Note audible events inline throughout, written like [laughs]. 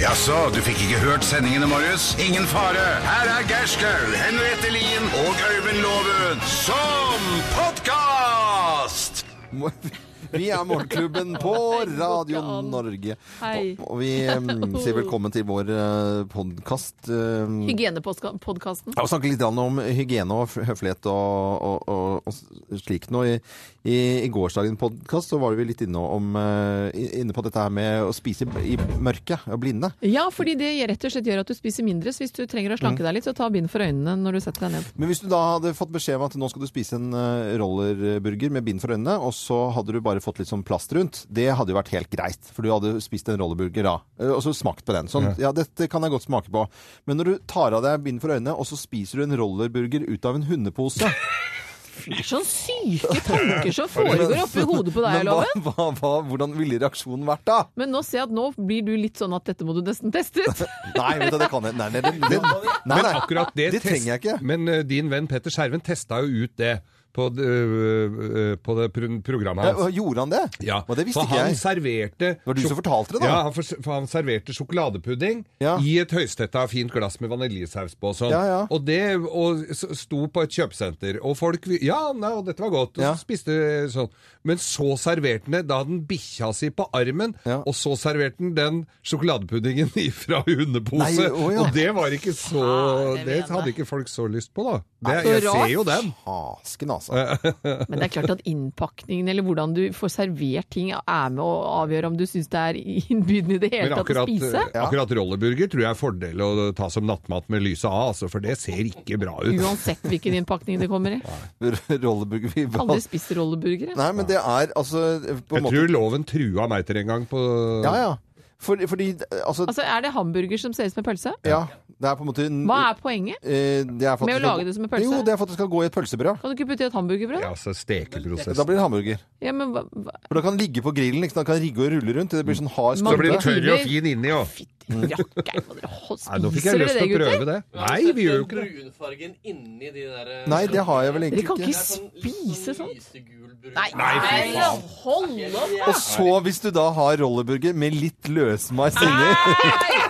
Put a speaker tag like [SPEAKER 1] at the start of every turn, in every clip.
[SPEAKER 1] Jaså, du fikk ikke hørt sendingene, Marius? Ingen fare. Her er Gerskaug, Henriette Lien og Øyvind Loven som podkast!
[SPEAKER 2] Vi er Morgenklubben på Radio Norge.
[SPEAKER 3] Hei.
[SPEAKER 2] Og, og vi em, sier velkommen til vår eh, podkast. em,
[SPEAKER 3] Hygienepodkasten.
[SPEAKER 2] og snakke litt grann om hygiene og f- høflighet og, og, og, og slikt nå. I, i, i gårsdagens podkast så var vi litt inne, om, eh, inne på dette her med å spise i mørket. og Blinde.
[SPEAKER 3] Ja, fordi det gjør- rett og slett gjør at du spiser mindre. Så hvis du trenger å slanke deg litt, så ta bind for øynene når du setter deg ned.
[SPEAKER 2] Men hvis du da hadde fått beskjed om at nå skal du spise en eh, rollerburger med bind for øynene, og så hadde du bare fått litt sånn plast rundt, det hadde jo vært helt greit. For du hadde spist en rollerburger da, eh, og så smakt på den. Sånn, ja, dette kan jeg godt smake på. Men når du tar av deg bind for øynene, og så spiser du en rollerburger ut av en hundepose
[SPEAKER 3] Det er sånn syke tanker som foregår oppi hodet på
[SPEAKER 2] [laughs]
[SPEAKER 3] deg,
[SPEAKER 2] Men hva,
[SPEAKER 3] Loven.
[SPEAKER 2] hva, hva, hvordan ville reaksjonen vært da?
[SPEAKER 3] Men nå ser jeg at nå blir du litt sånn at dette må du nesten teste ut.
[SPEAKER 2] Nei, vet du, det kan jeg. Nei, nei, det- det- nei,
[SPEAKER 4] Men
[SPEAKER 2] nei.
[SPEAKER 4] akkurat det,
[SPEAKER 2] [laughs] det trenger jeg ikke.
[SPEAKER 4] Men eh, din venn Petter Skjerven testa jo ut det på, d- øh, øh, på det pro- programmet
[SPEAKER 2] Ja,
[SPEAKER 4] hans.
[SPEAKER 2] og Gjorde han det?
[SPEAKER 4] Ja,
[SPEAKER 2] Og det visste
[SPEAKER 4] for
[SPEAKER 2] ikke
[SPEAKER 4] han
[SPEAKER 2] jeg.
[SPEAKER 4] serverte
[SPEAKER 2] var du
[SPEAKER 4] sjok-
[SPEAKER 2] som fortalte det, da.
[SPEAKER 4] Ja, han, for, for han serverte sjokoladepudding
[SPEAKER 2] Ja.
[SPEAKER 4] i et høystetta fint glass med vaniljesaus på og sånn.
[SPEAKER 2] Ja, ja.
[SPEAKER 4] Og det og, s- sto på et kjøpesenter, og folk vi- Ja, nei, og dette var godt. Og
[SPEAKER 2] Ja.
[SPEAKER 4] så spiste sånn. Men så serverte han det. Da hadde han bikkja si på armen,
[SPEAKER 2] Ja.
[SPEAKER 4] og så serverte han den sjokoladepuddingen fra hundepose.
[SPEAKER 2] Nei, å ja.
[SPEAKER 4] Og det var ikke så
[SPEAKER 3] Faen, det
[SPEAKER 4] Det
[SPEAKER 3] mener
[SPEAKER 4] hadde ikke folk så lyst på, da. Det,
[SPEAKER 3] Nei, så
[SPEAKER 4] jeg ser
[SPEAKER 3] rart.
[SPEAKER 4] jo den.
[SPEAKER 2] Hasken, altså.
[SPEAKER 3] Men det er klart at innpakningen eller hvordan du får servert ting er med å avgjøre om du syns det er innbydende i det hele
[SPEAKER 4] Men
[SPEAKER 3] tatt å
[SPEAKER 4] akkurat,
[SPEAKER 3] spise.
[SPEAKER 4] eh, akkurat rollerburger tror jeg er fordel å ta som nattmat med lyset av, altså, for det ser ikke bra [laughs] ut.
[SPEAKER 3] Uansett hvilken innpakning det kommer i.
[SPEAKER 2] [laughs] Rollerburger vi
[SPEAKER 3] Aldri spist rollerburger. jeg.
[SPEAKER 2] Nei, men det er altså på en
[SPEAKER 4] Jeg
[SPEAKER 2] måte
[SPEAKER 4] tror loven trua meg til en gang på
[SPEAKER 2] Ja, ja. For, fordi, altså,
[SPEAKER 3] Altså, Er det hamburger som ser ut som en pølse?
[SPEAKER 2] ja, det er på en måte en-
[SPEAKER 3] Hva er poenget?
[SPEAKER 2] eh, det er for at
[SPEAKER 3] med å
[SPEAKER 2] skal
[SPEAKER 3] lage
[SPEAKER 2] gå-
[SPEAKER 3] det som en pølse?
[SPEAKER 2] Jo, det er for at det skal gå i et pølsebrød.
[SPEAKER 3] Kan du ikke putte i et hamburgerbrød?
[SPEAKER 4] Ja, altså stekeprosess.
[SPEAKER 2] Da blir det hamburger.
[SPEAKER 3] Ja, men hva, hva?
[SPEAKER 2] For da kan den ligge på grillen, ikke sant? Den kan rigge og rulle rundt. til Det blir sånn hard
[SPEAKER 3] Man-
[SPEAKER 4] Så blir
[SPEAKER 2] skorpe.
[SPEAKER 4] den tørr og fin inni òg.
[SPEAKER 3] Fytti
[SPEAKER 2] Mm.
[SPEAKER 3] rakkeren, hva dere hold-
[SPEAKER 4] Nei, nå fikk
[SPEAKER 3] spiser
[SPEAKER 4] jeg
[SPEAKER 3] dere
[SPEAKER 4] lyst
[SPEAKER 3] det,
[SPEAKER 4] til å
[SPEAKER 3] gutter?
[SPEAKER 4] prøve det. Nei, vi
[SPEAKER 2] [laughs]
[SPEAKER 4] gjør jo ikke det.
[SPEAKER 5] Brunfargen inni de der eh,
[SPEAKER 2] Nei, det har jeg vel
[SPEAKER 3] Dere kan
[SPEAKER 2] egentlig
[SPEAKER 3] ikke
[SPEAKER 2] ikke.
[SPEAKER 3] spise sånn?
[SPEAKER 5] Lysegul brun.
[SPEAKER 3] Nei,
[SPEAKER 4] fy faen.
[SPEAKER 3] hold opp!
[SPEAKER 2] Og så, hvis du da har rollerburger med litt løsmeis inni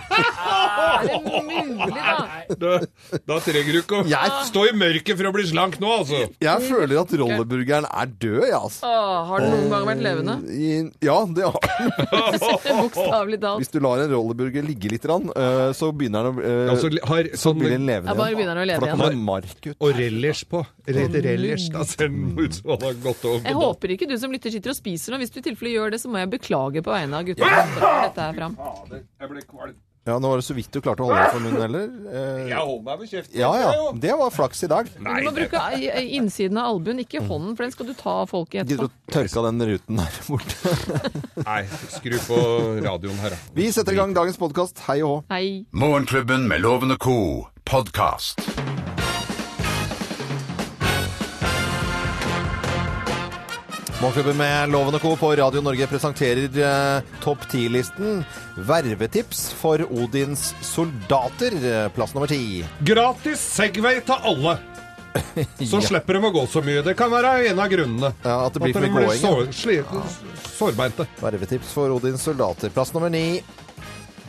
[SPEAKER 3] Ah! Er det mulig, da?
[SPEAKER 4] Da, da trenger du ikke å stå i mørket for å bli slank nå, altså.
[SPEAKER 2] Jeg føler at rollerburgeren er død, jeg, altså.
[SPEAKER 3] Åh, har det noen gang vært levende?
[SPEAKER 2] [laughs]
[SPEAKER 3] [laughs]
[SPEAKER 2] I- Ja, det har den.
[SPEAKER 3] Bokstavelig
[SPEAKER 2] [laughs]
[SPEAKER 3] talt.
[SPEAKER 2] Hvis du lar en rollerburger ligge litt, grann, øh, så begynner den å øh,
[SPEAKER 4] Altså, har
[SPEAKER 2] så blir den
[SPEAKER 4] sånn
[SPEAKER 2] levende
[SPEAKER 3] Ja, bare begynner den å lede
[SPEAKER 2] For da
[SPEAKER 3] igjen.
[SPEAKER 2] kommer det mark ut.
[SPEAKER 4] og rellers på. Rett rellers. Da ser den
[SPEAKER 2] Mm.
[SPEAKER 4] ut som den har gått over.
[SPEAKER 3] Jeg håper ikke du som lytter sitter og spiser nå. Hvis du i tilfelle gjør det, så må jeg beklage på vegne av gutta. som tar Dette her fram.
[SPEAKER 4] Jeg ble kvalm.
[SPEAKER 2] Ja, nå var det så vidt du klarte å holde deg for munnen, eller? Eh,
[SPEAKER 4] Jeg holder meg ved kjeften.
[SPEAKER 2] Ja ja, det var flaks i dag.
[SPEAKER 3] Men Du må bruke i- i- innsiden av albuen, ikke hånden, for den skal du ta av folket
[SPEAKER 2] Gidder
[SPEAKER 3] etterpå.
[SPEAKER 2] du å tørke av den ruten der [laughs] borte?
[SPEAKER 4] Nei, skru på radioen her, da.
[SPEAKER 2] Vi setter i gang dagens podkast. Hei og hå.
[SPEAKER 3] Hei.
[SPEAKER 1] Morgenklubben med Loven og co. podkast.
[SPEAKER 2] Morgenklubben med Loven og Co. på Radio Norge presenterer eh, Topp 10-listen Vervetips for Odins soldater. eh, Plass nummer ti.
[SPEAKER 4] Gratis Segway til alle! Så slipper de å gå så mye. Det kan være en av grunnene.
[SPEAKER 2] Ja, at det blir for
[SPEAKER 4] de
[SPEAKER 2] mye gåing,
[SPEAKER 4] sår, sliten, sårbeinte.
[SPEAKER 2] Vervetips for Odins soldater. Plass nummer ni.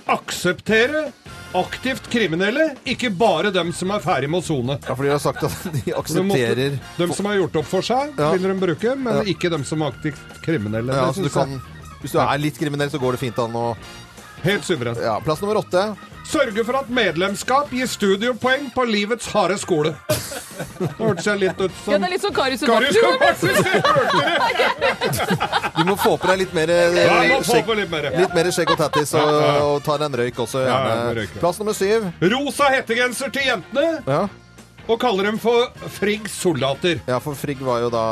[SPEAKER 4] Akseptere aktivt kriminelle, ikke bare dem som er ferdig med å sone.
[SPEAKER 2] Ja, for de har sagt at [laughs] de
[SPEAKER 4] De måtte-
[SPEAKER 2] aksepterer
[SPEAKER 4] Dem som har gjort opp for seg,
[SPEAKER 2] Ja.
[SPEAKER 4] vil de bruke, men ikke dem som er aktivt kriminelle.
[SPEAKER 2] ja,
[SPEAKER 4] Det
[SPEAKER 2] så du
[SPEAKER 4] synes
[SPEAKER 2] kan, Hvis du er litt kriminell, så går det fint an å
[SPEAKER 4] jeg. Helt suverent.
[SPEAKER 2] ja, Plass nummer åtte.
[SPEAKER 4] Sørge for at medlemskap gir studiepoeng på livets harde skole. Det hørtes jeg litt ut
[SPEAKER 3] Ja,
[SPEAKER 4] som
[SPEAKER 3] det er litt sånn Karius og
[SPEAKER 4] Karius
[SPEAKER 3] Baktus.
[SPEAKER 4] Kapartus! Hørte dere?
[SPEAKER 2] Du må få på deg litt mer eh,
[SPEAKER 4] Ja, jeg må få
[SPEAKER 2] skjegg.
[SPEAKER 4] på litt mer.
[SPEAKER 2] Litt mer skjegg og tattis og, og tar en røyk også.
[SPEAKER 4] Ja,
[SPEAKER 2] Gjerne.
[SPEAKER 4] en røyk, ja.
[SPEAKER 2] Plass nummer syv.
[SPEAKER 4] Rosa hettegenser til jentene,
[SPEAKER 2] Ja.
[SPEAKER 4] og kaller dem for Friggs soldater.
[SPEAKER 2] ja, for Frigg var jo da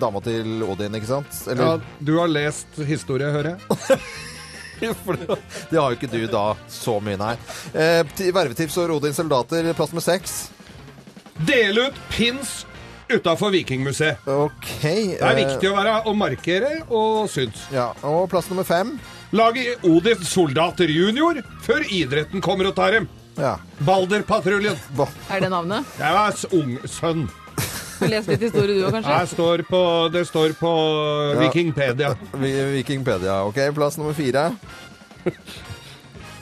[SPEAKER 2] dama til Odin, ikke sant?
[SPEAKER 4] Ja,
[SPEAKER 2] Eller,
[SPEAKER 4] du har lest historie, hører jeg.
[SPEAKER 2] for det det har jo ikke du da så mye, nei. Eh, ti- vervetips og Odins soldater, plass nummer seks.
[SPEAKER 4] Dele ut pins utafor Vikingmuseet.
[SPEAKER 2] OK.
[SPEAKER 4] Det er viktig å være å markere og syns.
[SPEAKER 2] eh, Ja, og plass nummer fem.
[SPEAKER 4] Lage Odin soldater junior før idretten kommer og tar dem.
[SPEAKER 2] Ja.
[SPEAKER 4] Balderpatruljen.
[SPEAKER 2] Ba-
[SPEAKER 3] Er det navnet?
[SPEAKER 4] Jeg var s- ung sønn.
[SPEAKER 3] Har lest litt historie du òg, kanskje?
[SPEAKER 4] Jeg står på, det står på Vikingpedia.
[SPEAKER 2] Vi- Vikingpedia. OK, plass nummer fire.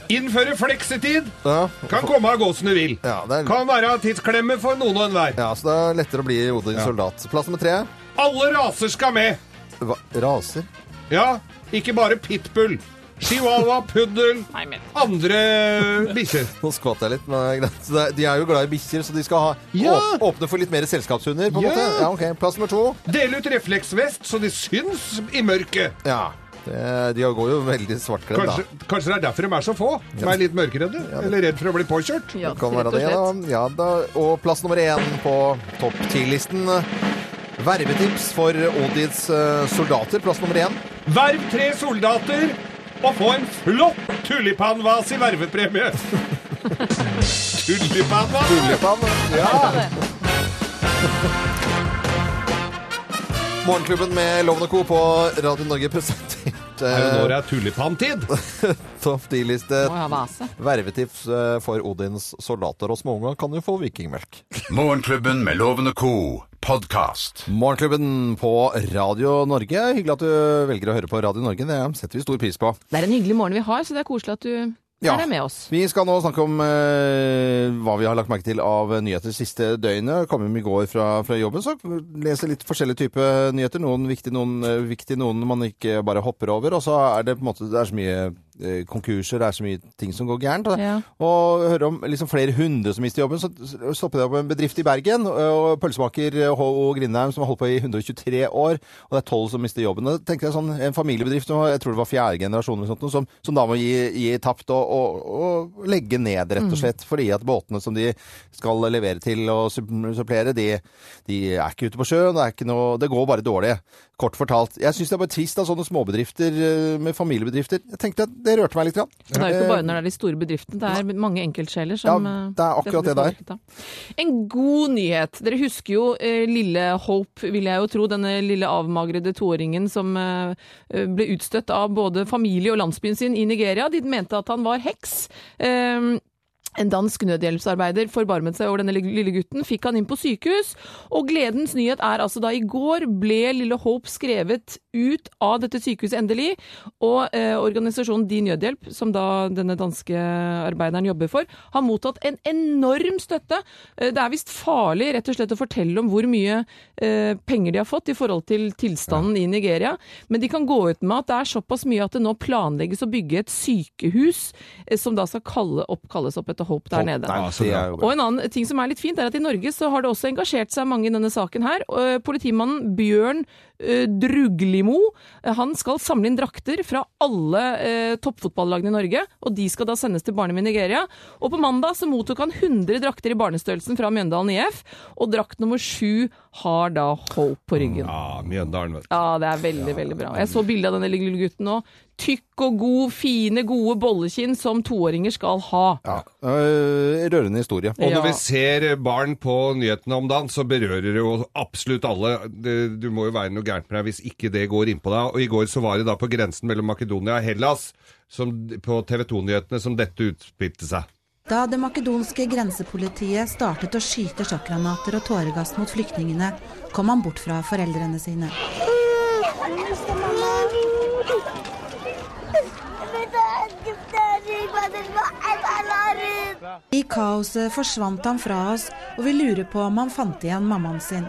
[SPEAKER 4] Innføre fleksitid.
[SPEAKER 2] Ja.
[SPEAKER 4] Kan komme av gå som du vil.
[SPEAKER 2] Ja, det er-
[SPEAKER 4] Kan være tidsklemme for noen og enhver.
[SPEAKER 2] Ja, så det er lettere å bli Odins soldat. Plass nummer tre.
[SPEAKER 4] Alle raser skal med.
[SPEAKER 2] Hva? Raser?
[SPEAKER 4] Ja, ikke bare pitbull. Chihuahua, puddel,
[SPEAKER 3] Nei, men
[SPEAKER 4] andre bikkjer.
[SPEAKER 2] Nå skvatt jeg litt, men det er greit. Så det er- De er jo glad i bikkjer, så de skal ha,
[SPEAKER 4] Ja.
[SPEAKER 2] åp- åpne for litt mer selskapshunder, på en
[SPEAKER 4] Ja.
[SPEAKER 2] måte. Ja, ok. Plass nummer to.
[SPEAKER 4] Dele ut refleksvest så de syns i mørket.
[SPEAKER 2] Ja. Det, de går jo veldig svartkledd, da.
[SPEAKER 4] Kanskje, kanskje det er derfor de er så få? De er litt mørkeredde? Eller redd for å bli påkjørt?
[SPEAKER 3] ja,
[SPEAKER 2] Kan være
[SPEAKER 3] rett og
[SPEAKER 2] det, da.
[SPEAKER 3] slett.
[SPEAKER 2] Ja da. Og plass nummer én på topp ti-listen. Vervetips for Odins eh, soldater. Plass nummer én.
[SPEAKER 4] Verv tre soldater og få en flott tulipanvas i
[SPEAKER 2] [laughs]
[SPEAKER 4] vervepremie! Tulipanvas!
[SPEAKER 2] Tulipan. Ja. [laughs] Morgenklubben med Lovende Co. på Radio Norge presenterte
[SPEAKER 4] Er det når det er tulipantid?
[SPEAKER 2] topp ti-liste.
[SPEAKER 3] Må ha vase.
[SPEAKER 2] Vervetips eh, for Odins soldater og småunger kan jo få vikingmelk.
[SPEAKER 1] Morgenklubben med Loven og Co. Podcast.
[SPEAKER 2] Morgenklubben på Radio Norge. Hyggelig at du velger å høre på Radio Norge. Det setter vi stor pris på.
[SPEAKER 3] Det er en hyggelig morgen vi har, så det er koselig at du
[SPEAKER 2] Ja.
[SPEAKER 3] er der med oss.
[SPEAKER 2] Vi skal nå snakke om eh, hva vi har lagt merke til av nyheter siste døgnet. Kom hjem i går fra, fra jobben, så leser litt forskjellige typer nyheter. Noen viktige, noen eh, viktige, noen man ikke bare hopper over. Og så er det på en måte det er så mye eh, konkurser, det er så mye ting som går gærent. Og,
[SPEAKER 3] Ja.
[SPEAKER 2] og hører om liksom flere hundre som mister jobben. Så så stoppet jeg på en bedrift i Bergen, og pølsemaker H.O. Grindheim som har holdt på i 123 år, og det er tolv som mister jobben. Da tenkte jeg sånn, en familiebedrift, som var- jeg tror det var fjerde generasjon eller sånt, som, som da må gi, gi tapt og, og, og legge ned, rett
[SPEAKER 3] Mm.
[SPEAKER 2] og slett, fordi at båtene som de skal levere til og supp- supplere, de, de er ikke ute på sjøen, det, er ikke noe, det går bare dårlig. Kort fortalt. Jeg syns det er bare trist av sånne småbedrifter eh, med familiebedrifter. Jeg tenkte at det rørte meg litt. Grann.
[SPEAKER 3] Og det er jo
[SPEAKER 2] Eh,
[SPEAKER 3] ikke bare når det er de store bedriftene, det er mange enkeltsjeler som
[SPEAKER 2] Ja,
[SPEAKER 3] eh,
[SPEAKER 2] det er akkurat
[SPEAKER 3] dette blir
[SPEAKER 2] det
[SPEAKER 3] påvirket av. En god nyhet. Dere husker jo eh, lille Hope, vil jeg jo tro. Denne lille avmagrede toåringen som eh, ble utstøtt av både familie og landsbyen sin i Nigeria. De mente at han var heks. Eh, en dansk nødhjelpsarbeider forbarmet seg over denne lille gutten, fikk han inn på sykehus, og gledens nyhet er altså da i går ble Lille Hope skrevet ut av dette sykehuset endelig, og eh, organisasjonen Din Nødhjelp, som da denne danske arbeideren jobber for, har mottatt en enorm støtte. Eh, det er visst farlig rett og slett å fortelle om hvor mye eh, penger de har fått i forhold til tilstanden i Nigeria, men de kan gå ut med at det er såpass mye at det nå planlegges å bygge et sykehus eh, som da skal kalle opp, kalles opp etter Hope der nede.
[SPEAKER 2] Nei, det er jo bra.
[SPEAKER 3] Og en annen ting som er litt fint, er at i Norge så har det også engasjert seg mange i denne saken her. Eh, Politimannen Bjørn eh, Druglimo eh, han skal samle inn drakter fra alle eh, toppfotballagene i Norge, og de skal da sendes til barnehjem i Nigeria. Og på mandag så mottok han 100 drakter i barnestørrelsen fra Mjøndalen IF, og drakt nummer sju har da Hope på ryggen.
[SPEAKER 4] Ja, Mjøndalen, vet du.
[SPEAKER 3] Ja, det er veldig, veldig bra. Jeg så bilde av denne lille lille gutten nå. Tykk og god, fine, gode bollekinn som toåringer skal ha.
[SPEAKER 2] Ja. Øh, Rørende historie.
[SPEAKER 4] Og når
[SPEAKER 3] Ja.
[SPEAKER 4] vi ser barn på nyhetene om dagen, så berører det jo absolutt alle. Det- Du må jo være noe gærent med deg hvis ikke det går innpå deg. Og i går så var det da på grensen mellom Makedonia og Hellas som, på TV 2-nyhetene som dette utspilte seg.
[SPEAKER 6] Da det makedonske grensepolitiet startet å skyte sjokkgranater og tåregass mot flyktningene, kom han bort fra foreldrene sine. I kaoset forsvant han fra oss, og vi lurer på om han fant igjen mammaen sin.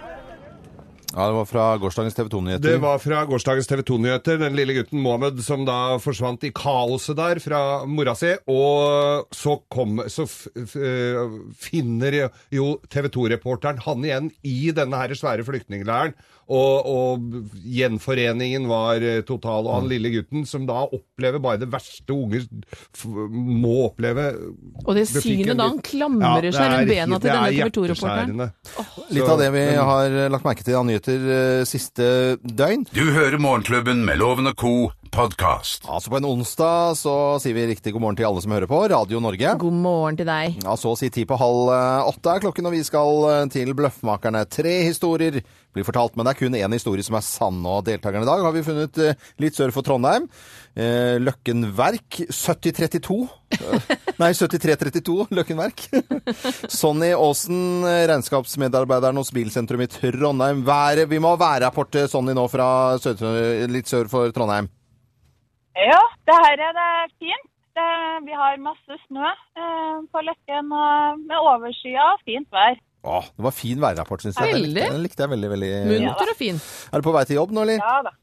[SPEAKER 2] Ja, det var fra gårsdagens TV 2-nyheter.
[SPEAKER 4] Det var fra gårsdagens TV 2-nyheter. Den lille gutten Mohammed som da forsvant i kaoset der fra mora si. Og så, kom, så f f eh, finner jo TV 2-reporteren han igjen i denne her svære flyktningleiren. Og, og gjenforeningen var eh, total. Og han lille gutten som da opplever bare det verste unger f må oppleve
[SPEAKER 3] Og det
[SPEAKER 4] Det fikk en
[SPEAKER 3] synet da han
[SPEAKER 4] litt- Ja,
[SPEAKER 3] klamrer
[SPEAKER 4] det
[SPEAKER 3] seg
[SPEAKER 4] er
[SPEAKER 3] rundt bena til
[SPEAKER 4] helt- det er
[SPEAKER 3] denne TV 2-reporteren.
[SPEAKER 4] hjerteskjærende.
[SPEAKER 2] Litt
[SPEAKER 4] Så-
[SPEAKER 2] av det vi har lagt merke til av nyheter eh, siste døgn.
[SPEAKER 1] Du hører Morgenklubben med Loven og Co. Podcast.
[SPEAKER 2] Altså På en onsdag så sier vi riktig god morgen til alle som hører på. Radio Norge.
[SPEAKER 3] God morgen til deg.
[SPEAKER 2] Ja, Så å si ti på halv eh, åtte er klokken, og vi skal eh, til Bløffmakerne. Tre historier blir fortalt, men det er kun én historie som er sann. Og deltakerne i dag har vi funnet eh, litt sør for Trondheim. Eh, Løkken Verk 7032. Eh, Nei, 7332 Løkken Verk. Sonny Aasen, eh, regnskapsmedarbeideren hos Bilsentrum i Trondheim. Været, vi må ha værrapport til Sonny nå fra sør, litt sør for Trondheim.
[SPEAKER 7] Ja, det her er det fint. Det, vi har masse snø eh, på Løkken og med overskya og fint vær.
[SPEAKER 2] Åh, det var fin værrapport, syns jeg. Den likte,
[SPEAKER 3] Veldig.
[SPEAKER 2] den likte jeg veldig, veldig godt.
[SPEAKER 3] Munter og fin.
[SPEAKER 2] Er du på vei til jobb nå, eller?
[SPEAKER 7] Ja da.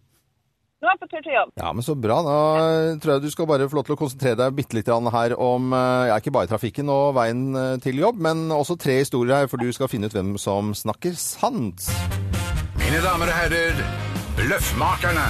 [SPEAKER 7] Nå er jeg på tur til jobb.
[SPEAKER 2] Ja, men så bra. Da tror jeg du skal bare få lov til å konsentrere deg bitte litt grann her om eh, ja, ikke bare trafikken og veien eh, til jobb, men også tre historier her, for du skal finne ut hvem som snakker sant.
[SPEAKER 1] Mine damer og herrer, Løffmakerne.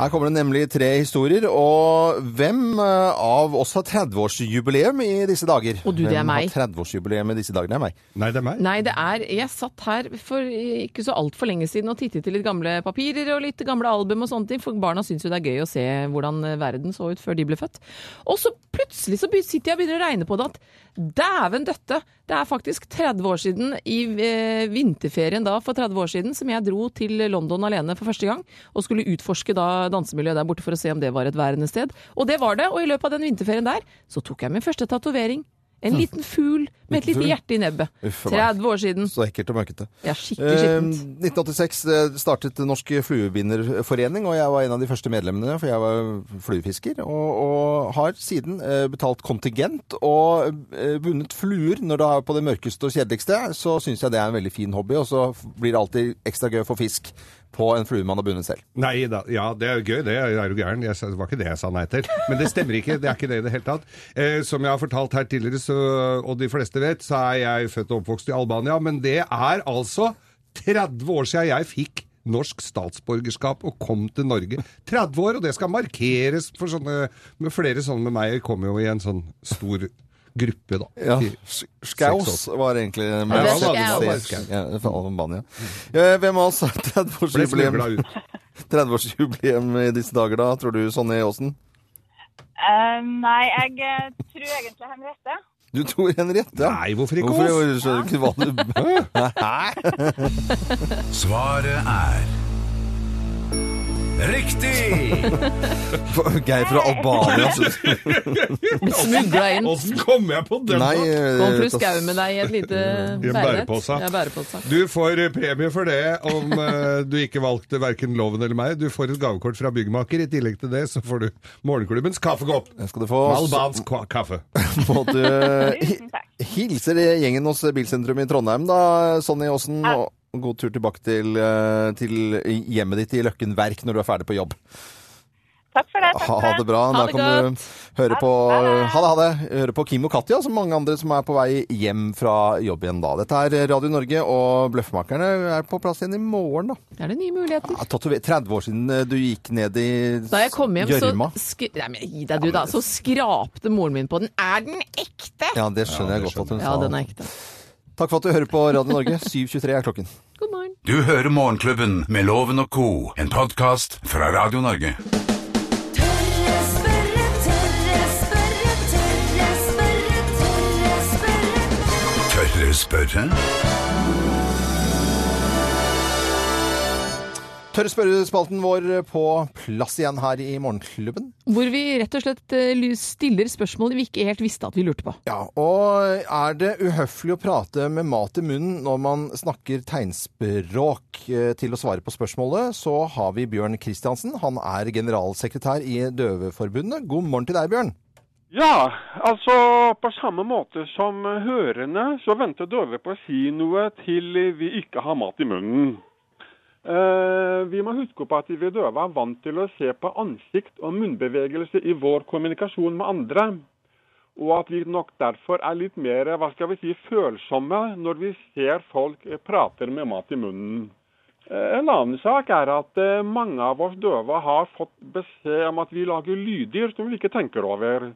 [SPEAKER 2] Her kommer det nemlig tre historier, og hvem eh, av oss har 30-årsjubileum i disse dager?
[SPEAKER 3] Å, du, det er
[SPEAKER 2] Hvem
[SPEAKER 3] meg.
[SPEAKER 2] har 30-årsjubileum i disse dager? Det er meg.
[SPEAKER 4] Nei, det er meg.
[SPEAKER 3] Nei, det er Jeg satt her for ikke så altfor lenge siden og tittet i litt gamle papirer og litt gamle album og sånne ting, for barna syns jo det er gøy å se hvordan verden så ut før de ble født. Og så plutselig så be- sitter jeg og begynner å regne på det at dæven døtte, det er faktisk 30 år siden i eh, vinterferien da for 30 år siden som jeg dro til London alene for første gang og skulle utforske da dansemiljøet der borte for å se om det var et værende sted. Og det var det, og i løpet av den vinterferien der så tok jeg min første tatovering. En liten fugl med et
[SPEAKER 2] Liten
[SPEAKER 3] lite
[SPEAKER 2] fugl?
[SPEAKER 3] hjerte i nebbet.
[SPEAKER 2] Uff, meg.
[SPEAKER 3] 30 år siden.
[SPEAKER 2] Så ekkelt og møkkete.
[SPEAKER 3] Ja, skikkelig
[SPEAKER 2] Eh,
[SPEAKER 3] skittent.
[SPEAKER 2] 1986 eh, startet Norsk Fluebinderforening, og jeg var en av de første medlemmene, for jeg var fluefisker, og, og har siden eh, betalt kontingent og eh, bundet fluer når det er på det mørkeste og kjedeligste, så syns jeg det er en veldig fin hobby, og så f- blir det alltid ekstra gøy å få fisk på en flue man har bundet selv.
[SPEAKER 4] Nei da. Ja, det er jo gøy. Det er jo gæren. Jeg sa- Det var ikke det jeg sa nei til. Men det stemmer ikke. Det er ikke det i det hele tatt. Eh, som jeg har fortalt her tidligere, så, og de fleste vet, så er jeg født og oppvokst i Albania. Men det er altså 30 år siden jeg fikk norsk statsborgerskap og kom til Norge. 30 år, og det skal markeres for sånne med Flere sånne med meg kommer jo i en sånn stor gruppe, da. Fire-
[SPEAKER 2] Skaus
[SPEAKER 4] seks år.
[SPEAKER 2] var egentlig
[SPEAKER 3] Ja, det er
[SPEAKER 4] Skaus.
[SPEAKER 2] Ja, fra Albania. Eh, Hvem av oss har
[SPEAKER 4] Ble smugla
[SPEAKER 2] 30-årsjubileum
[SPEAKER 4] ut.
[SPEAKER 2] 30-årsjubileum i disse dager, da, tror du, Sonny Aasen?
[SPEAKER 7] Eh, nei, jeg eh, tror egentlig Henriette.
[SPEAKER 2] Du tror Henriette? ja.
[SPEAKER 4] Nei, hvorfor ikke
[SPEAKER 2] Hvorfor
[SPEAKER 4] oss?
[SPEAKER 2] jeg skjønner ikke hva du Hæ?
[SPEAKER 1] Svaret er Riktig!
[SPEAKER 2] Geir fra Albania synes
[SPEAKER 3] [laughs] Smugla inn.
[SPEAKER 4] Åssen kom jeg på den?
[SPEAKER 2] Nei,
[SPEAKER 4] da?
[SPEAKER 3] Kom fru
[SPEAKER 2] eh,
[SPEAKER 3] Skau med deg i et lite
[SPEAKER 4] I en
[SPEAKER 3] bærerett.
[SPEAKER 4] bærepose.
[SPEAKER 3] Ja, bærepose.
[SPEAKER 4] Du får eh, premie for det om eh, du ikke valgte verken loven eller meg. Du får et gavekort fra byggmaker. I tillegg til det så får du morgenklubbens kaffekopp.
[SPEAKER 2] skal du få.
[SPEAKER 4] Albansk ka- kaffe.
[SPEAKER 2] Så må
[SPEAKER 7] [laughs]
[SPEAKER 2] du hi-
[SPEAKER 7] Tusen takk.
[SPEAKER 2] hilse gjengen hos Bilsentrum i Trondheim, da, Sonny Aasen. Og god tur tilbake til, eh, til hjemmet ditt i Løkken Verk når du er ferdig på jobb.
[SPEAKER 7] Takk for det. Takk
[SPEAKER 2] Ha
[SPEAKER 7] for
[SPEAKER 2] det bra.
[SPEAKER 3] Ha
[SPEAKER 2] Da
[SPEAKER 3] det
[SPEAKER 2] kan du
[SPEAKER 3] godt.
[SPEAKER 2] høre på,
[SPEAKER 7] Ha det.
[SPEAKER 2] ha det, ha det. høre på Kim og Katja, som mange andre som er på vei hjem fra jobb igjen da. Dette er Radio Norge, og Bløffmakerne er på plass igjen i morgen, da.
[SPEAKER 3] Det er det nye muligheter.
[SPEAKER 2] Ja, tatover- 30 år siden eh, du gikk ned i
[SPEAKER 3] Da jeg kom hjem, så,
[SPEAKER 2] gjørma.
[SPEAKER 3] sk Nei, men, gi deg, du, da. så skrapte moren min på den. Er den ekte?
[SPEAKER 2] Ja, det skjønner
[SPEAKER 4] Ja,
[SPEAKER 2] jeg
[SPEAKER 4] det
[SPEAKER 2] godt at hun
[SPEAKER 3] Ja,
[SPEAKER 2] sa.
[SPEAKER 3] den er ekte.
[SPEAKER 2] Takk for at du hører på Radio Norge. [laughs] 7.23 er klokken.
[SPEAKER 3] God morgen.
[SPEAKER 1] Du hører Morgenklubben med Loven og co., en podkast fra Radio Norge.
[SPEAKER 8] Tørre spørre, tørre spørre, tørre spørre, tørre spørre.
[SPEAKER 1] Tør dere spørre?
[SPEAKER 2] Tørre spørrespalten vår på plass igjen her i Morgenklubben.
[SPEAKER 3] Hvor vi rett og slett eh, ly- stiller spørsmål vi ikke helt visste at vi lurte på.
[SPEAKER 2] Ja, og er det uhøflig å prate med mat i munnen når man snakker tegnspråk? Eh, Til å svare på spørsmålet så har vi Bjørn Kristiansen. Han er generalsekretær i Døveforbundet. God morgen til deg, Bjørn.
[SPEAKER 9] Ja, altså på samme måte som hørende, så venter døve på å si noe til vi ikke har mat i munnen. Eh, vi må huske på at vi døve er vant til å se på ansikt og munnbevegelse i vår kommunikasjon med andre. Og at vi nok derfor er litt mer hva skal vi si, følsomme når vi ser folk eh, prater med mat i munnen. Eh, En annen sak er at eh, mange av oss døve har fått beskjed om at vi lager lyder som vi ikke tenker over.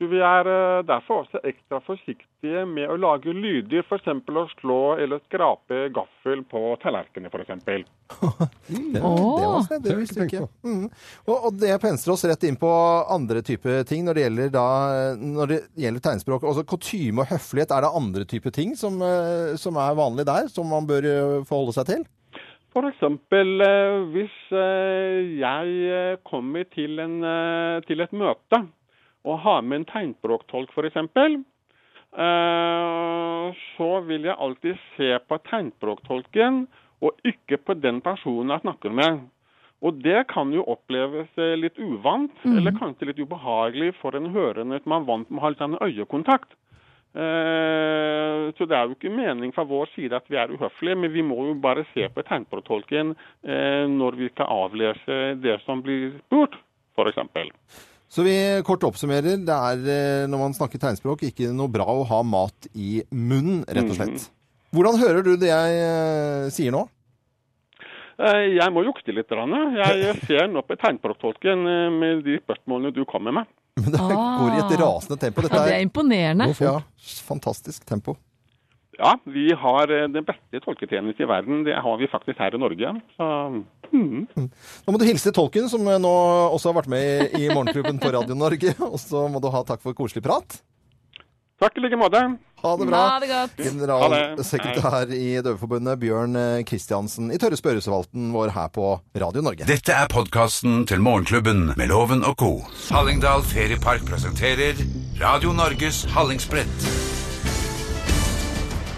[SPEAKER 9] Så vi er eh, derfor også ekstra forsiktige med å lage lyder, f.eks. å slå eller skrape gaffel på tallerkenene, f.eks.
[SPEAKER 2] Det,
[SPEAKER 3] Åh.
[SPEAKER 2] det var snedig,
[SPEAKER 4] Det har jeg
[SPEAKER 2] visste jeg
[SPEAKER 4] ikke
[SPEAKER 2] ikke.
[SPEAKER 4] tenkt
[SPEAKER 2] Mm. Og, og det penser oss rett inn på andre typer ting når det gjelder, da, når det gjelder tegnspråk. Også kutyme og høflighet, er det andre typer ting som, eh, som er vanlig der, som man bør eh, forholde seg til?
[SPEAKER 9] For eksempel eh, hvis eh, jeg eh, kommer til, en, eh, til et møte og har med en tegnspråktolk for eksempel, eh, så vil jeg alltid se på tegnspråktolken og ikke på den personen jeg snakker med.
[SPEAKER 10] Og det kan jo oppleves eh, litt uvant,
[SPEAKER 2] Mm.
[SPEAKER 10] eller kanskje litt ubehagelig for en hørende at man er vant med å ha litt sånn øyekontakt. Eh, Så det er jo ikke mening fra vår side at vi er uhøflige, men vi må jo bare se på tegnspråktolken eh, når vi skal avlese det som blir spurt, f.eks.
[SPEAKER 2] Så vi kort oppsummerer. Det er, eh, når man snakker tegnspråk, ikke noe bra å ha mat i munnen, rett og slett.
[SPEAKER 3] Mm.
[SPEAKER 2] Hvordan hører du det jeg eh, sier nå? [laughs]
[SPEAKER 10] Eh, Jeg må jukte litt. grann, Jeg jeg ser nå på tegnspråktolken eh, med de spørsmålene du kommer med.
[SPEAKER 2] Men det går i et rasende tempo.
[SPEAKER 3] Ah. Ja,
[SPEAKER 2] Dette
[SPEAKER 3] det er
[SPEAKER 2] er
[SPEAKER 3] imponerende.
[SPEAKER 2] ja, fantastisk tempo.
[SPEAKER 10] Ja, vi har eh, den beste tolketjenesten i verden. Det har vi faktisk her i Norge. Så
[SPEAKER 2] Nå må du hilse til tolken, som eh, nå også har vært med i i Morgenklubben på Radio Norge. [laughs] Og så må du ha takk for koselig prat.
[SPEAKER 10] takk i like måte.
[SPEAKER 2] Ha det bra.
[SPEAKER 3] Ha det godt.
[SPEAKER 2] Generalsekretær i Døveforbundet Bjørn eh, Kristiansen i Tørre Spørresevalten vår her på Radio Norge.
[SPEAKER 1] Dette er podkasten til Morgenklubben med Loven og co. Hallingdal Feriepark presenterer Radio Norges Hallingsbrett.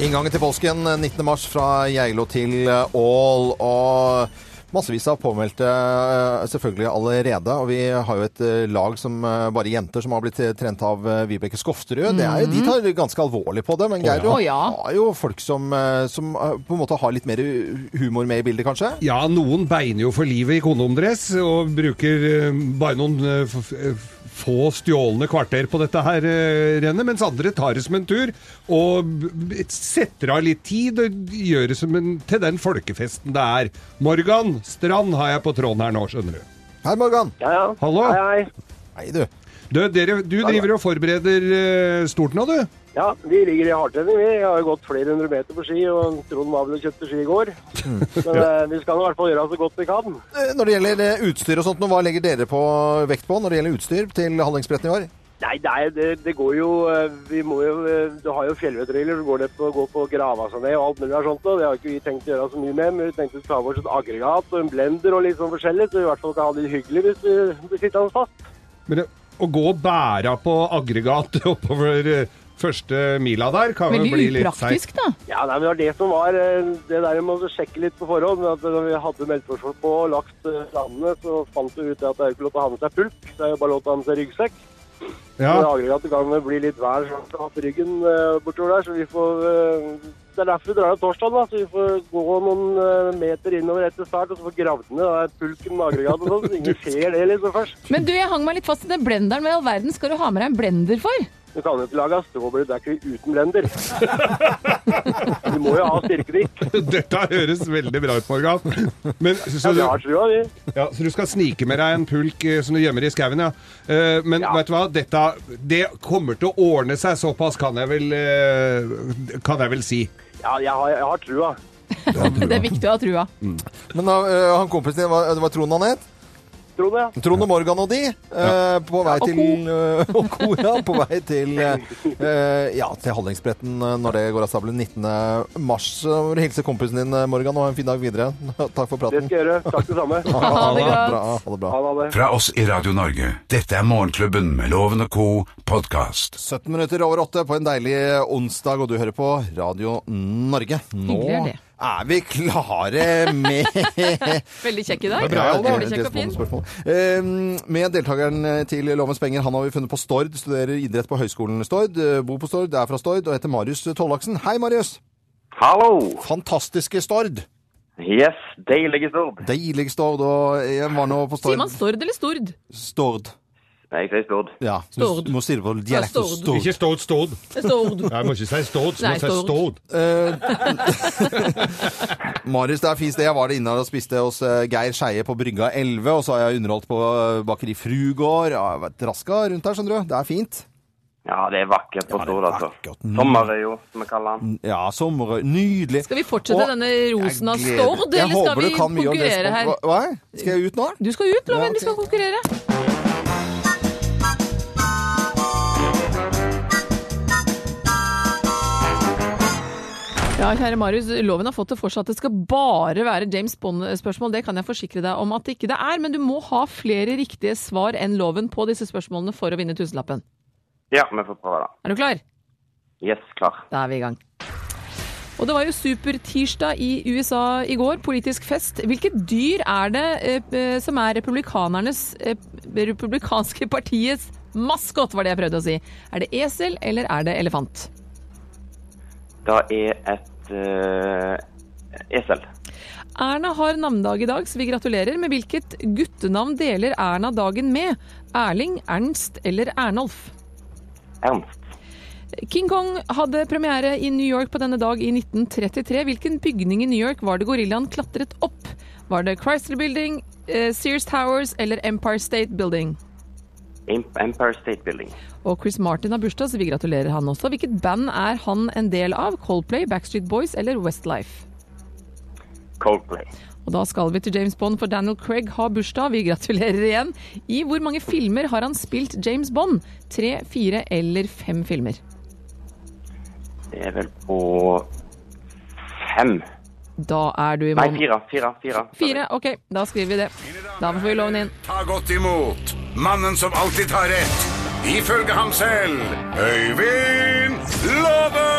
[SPEAKER 2] Inngangen til påsken 19. mars fra Geilo til eh, Ål. Og massevis av påmeldte eh, selvfølgelig allerede. Og vi har jo et eh, lag som eh, bare jenter som har blitt eh, trent av eh, Vibeke Skofterud. Det er jo, de tar ganske alvorlig på det, men Geir
[SPEAKER 3] Mhm. Å, ja.
[SPEAKER 2] har jo folk som, eh, som eh, på en måte har litt mer eh, humor med i bildet, kanskje.
[SPEAKER 4] Ja, noen beiner jo for livet i kondomdress og bruker eh, bare noen eh, f- f- få stjålne kvarter på dette her eh, rennet, mens andre tar det som en tur og b- b- setter av litt tid og gjør det som en, til den folkefesten det er. Morgan Strand har jeg på tråden her nå, skjønner du.
[SPEAKER 2] Hei, Morgan.
[SPEAKER 11] Ja, ja.
[SPEAKER 4] Hallo?
[SPEAKER 11] Hei, hei.
[SPEAKER 2] Hei, du. Eh,
[SPEAKER 4] Du, dere, du driver og forbereder eh, stort nå, du?
[SPEAKER 11] Ja, vi ligger i hardtrening, vi. Jeg har jo gått flere hundre meter på ski, og Trond var vel og kjøpte ski i går. [laughs] Men eh, vi skal i hvert fall gjøre så godt vi kan.
[SPEAKER 2] Eh, Når det gjelder eh, utstyr og sånt, nå, hva legger dere på vekt på når det gjelder utstyr til Hallingsbretten i år?
[SPEAKER 11] Nei, nei det, det går jo eh, Vi må jo eh, Du har jo fjellvettryller, du går ned på, går på grava seg ned og alt mulig av sånt. Og det har ikke vi tenkt å gjøre så mye med, men vi tenkte å ta vårt et aggregat og en blender og litt sånn forskjellig, så vi i hvert fall kan ha det hyggelig hvis vi blir sittende fast.
[SPEAKER 4] Men det, å gå og bære på aggregat [laughs] oppover eh, første mila der kan jo bli
[SPEAKER 3] Veldig
[SPEAKER 4] litt
[SPEAKER 3] upraktisk,
[SPEAKER 4] seigt.
[SPEAKER 3] da.
[SPEAKER 11] Ja, nei, men det var det som var eh, det der med å sjekke litt på forhånd. at eh, Når vi hadde meldt oss på og lagt eh, planene, så fant vi ut det at det er jo ikke lov til å ha med seg pulk. Det er jo bare lov til å ha med seg ryggsekk.
[SPEAKER 4] Ja.
[SPEAKER 11] Det aggregatet kan vel bli litt vær sånn opp i ryggen eh, bortover der, så vi får eh, Det er derfor vi drar av torsdag, da. Så vi får gå noen eh, meter innover etter start og så får gravd ned den der pulken med aggregatet og sånn, så [laughs] ingen ser det liksom først.
[SPEAKER 3] Men du, jeg hang meg litt fast i den blenderen. Hva i all verden skal du ha med deg en blender for?
[SPEAKER 11] Du kan jo ikke lage strawberry-dackery uten blender. Du må jo ha styrkedrikk.
[SPEAKER 4] [laughs] Dette høres veldig bra ut, Morgan. Men,
[SPEAKER 11] Ja,
[SPEAKER 4] så,
[SPEAKER 11] vi har trua, vi.
[SPEAKER 4] ja, så du skal snike med deg en pulk eh, som du gjemmer i skauen, ja. Eh, Men
[SPEAKER 11] Ja.
[SPEAKER 4] vet du hva, dette det kommer til å ordne seg såpass, kan jeg vel, eh, kan jeg vel si.
[SPEAKER 11] Ja, jeg har, jeg har trua.
[SPEAKER 3] Det er viktig å ha trua.
[SPEAKER 2] Men da, eh, han kompisen din, hva- det var Trond han het?
[SPEAKER 11] Tror du det?
[SPEAKER 2] Trond og Morgan og de eh, på vei
[SPEAKER 3] og
[SPEAKER 2] til eh, Og ko, ja. På vei til eh, eh, Ja, til Hallingsbretten eh, når det går av stabelen 19. mars. Så må du hilse kompisen din, eh, Morgan, og ha en fin dag videre. [laughs] Takk for
[SPEAKER 11] Det
[SPEAKER 2] praten.
[SPEAKER 11] skal jeg gjøre. Takk det samme. Ha
[SPEAKER 2] Ha det
[SPEAKER 3] godt.
[SPEAKER 2] bra. Ha det bra.
[SPEAKER 11] det.
[SPEAKER 1] Fra oss i Radio Norge. Dette er Morgenklubben med Loven og co. podkast.
[SPEAKER 2] 17 minutter over åtte på en deilig onsdag, og du hører på Radio Norge. Nå
[SPEAKER 3] Hyggelig er det.
[SPEAKER 2] er vi klare med [laughs]
[SPEAKER 3] Veldig kjekk i dag.
[SPEAKER 2] Ja, det er
[SPEAKER 3] Veldig
[SPEAKER 2] et
[SPEAKER 3] kjekk og fin.
[SPEAKER 2] bonusspørsmål. Eh, Med deltakeren til Lovens penger, han har vi funnet på Stord. Studerer idrett på Høgskolen Stord. eh, Bor på Stord, er fra Stord og heter Marius Tollaksen. Hei, Marius!
[SPEAKER 11] Hallo!
[SPEAKER 2] Fantastiske Stord!
[SPEAKER 11] Yes, deilige Stord.
[SPEAKER 2] Deilig Stord. Og eh, jeg var nå på
[SPEAKER 3] Sier man
[SPEAKER 2] Stord.
[SPEAKER 3] Stord eller Stord?
[SPEAKER 2] Stord.
[SPEAKER 11] Nei, jeg sier Stord.
[SPEAKER 2] Ja. du
[SPEAKER 3] Stord.
[SPEAKER 2] Må si det på dialekt.
[SPEAKER 3] Ja, Stord.
[SPEAKER 2] Stord.
[SPEAKER 4] Ikke ståd, ståd.
[SPEAKER 3] Stord.
[SPEAKER 4] Jeg må ikke si ståd, så
[SPEAKER 3] Nei,
[SPEAKER 4] må jeg si
[SPEAKER 3] ståd.
[SPEAKER 4] ståd.
[SPEAKER 2] Eh, Marius, det er fint det. Jeg var det inne her og spiste hos eh, Geir Skeie på Brygga 11, og så har jeg underholdt på eh, Bakeri Frugård. Ja, jeg har vært raska rundt her, skjønner du. Det er fint.
[SPEAKER 11] Ja, det er vakkert Mm. på Stord, altså.
[SPEAKER 2] vakkert.
[SPEAKER 11] Sommerøyo, som vi kaller den.
[SPEAKER 2] Ja, sommer... Nydelig.
[SPEAKER 3] Skal vi fortsette
[SPEAKER 2] Og-
[SPEAKER 3] denne rosen av
[SPEAKER 2] Jeg gleder-
[SPEAKER 3] Stord,
[SPEAKER 2] Jeg
[SPEAKER 3] eller skal
[SPEAKER 2] håper
[SPEAKER 3] vi
[SPEAKER 2] du kan mye om det
[SPEAKER 3] konkurrere her?
[SPEAKER 2] sport- Hva? hva? Skal jeg ut nå?
[SPEAKER 3] Du skal ut,
[SPEAKER 2] Ja,
[SPEAKER 3] Loven.
[SPEAKER 2] ok.
[SPEAKER 3] Vi skal konkurrere. Ja, kjære Marius, Loven har fått det for seg at det skal bare være James Bond-spørsmål. Det kan jeg forsikre deg om at det ikke det er, men du må ha flere riktige svar enn Loven på disse spørsmålene for å vinne tusenlappen.
[SPEAKER 11] Ja, vi får prøve det.
[SPEAKER 3] Er du klar?
[SPEAKER 11] Yes, klar.
[SPEAKER 3] Da er vi i gang. Og det var jo supertirsdag i USA i går, politisk fest. Hvilket dyr er det eh, eh, som er republikanernes eh, republikanske partiets maskot, var det jeg prøvde å si. Er det esel, eller er det elefant?
[SPEAKER 12] Det er et eh, esel.
[SPEAKER 3] Erna har navnedag i dag, så vi gratulerer. Med hvilket guttenavn deler Erna dagen med? Erling, Ernst eller Ernolf?
[SPEAKER 12] Ernst.
[SPEAKER 3] King Kong hadde premiere i New York på denne dag i 1933. Hvilken bygning i New York var det gorillaen klatret opp? Var det Chrysler Building, eh, Sears Towers eller Empire State Building?
[SPEAKER 12] Em- Empire State Building.
[SPEAKER 3] Og Chris Martin har bursdag, så vi gratulerer han også. Hvilket band er han en del av? Coldplay, Backstreet Boys eller Westlife?
[SPEAKER 12] Coldplay.
[SPEAKER 3] Og da skal vi til James Bond, for Daniel Craig har bursdag. Vi gratulerer igjen. I hvor mange filmer har han spilt James Bond? Tre, fire eller fem filmer?
[SPEAKER 12] Det er vel på fem.
[SPEAKER 3] Da er du i
[SPEAKER 12] Nei,
[SPEAKER 3] mål.
[SPEAKER 12] fire. Fire. fire.
[SPEAKER 3] Fire, ok. Da skriver vi det. Da får vi loven inn.
[SPEAKER 1] Ta godt imot mannen som alltid tar rett, ifølge ham selv, Øyvind Låve!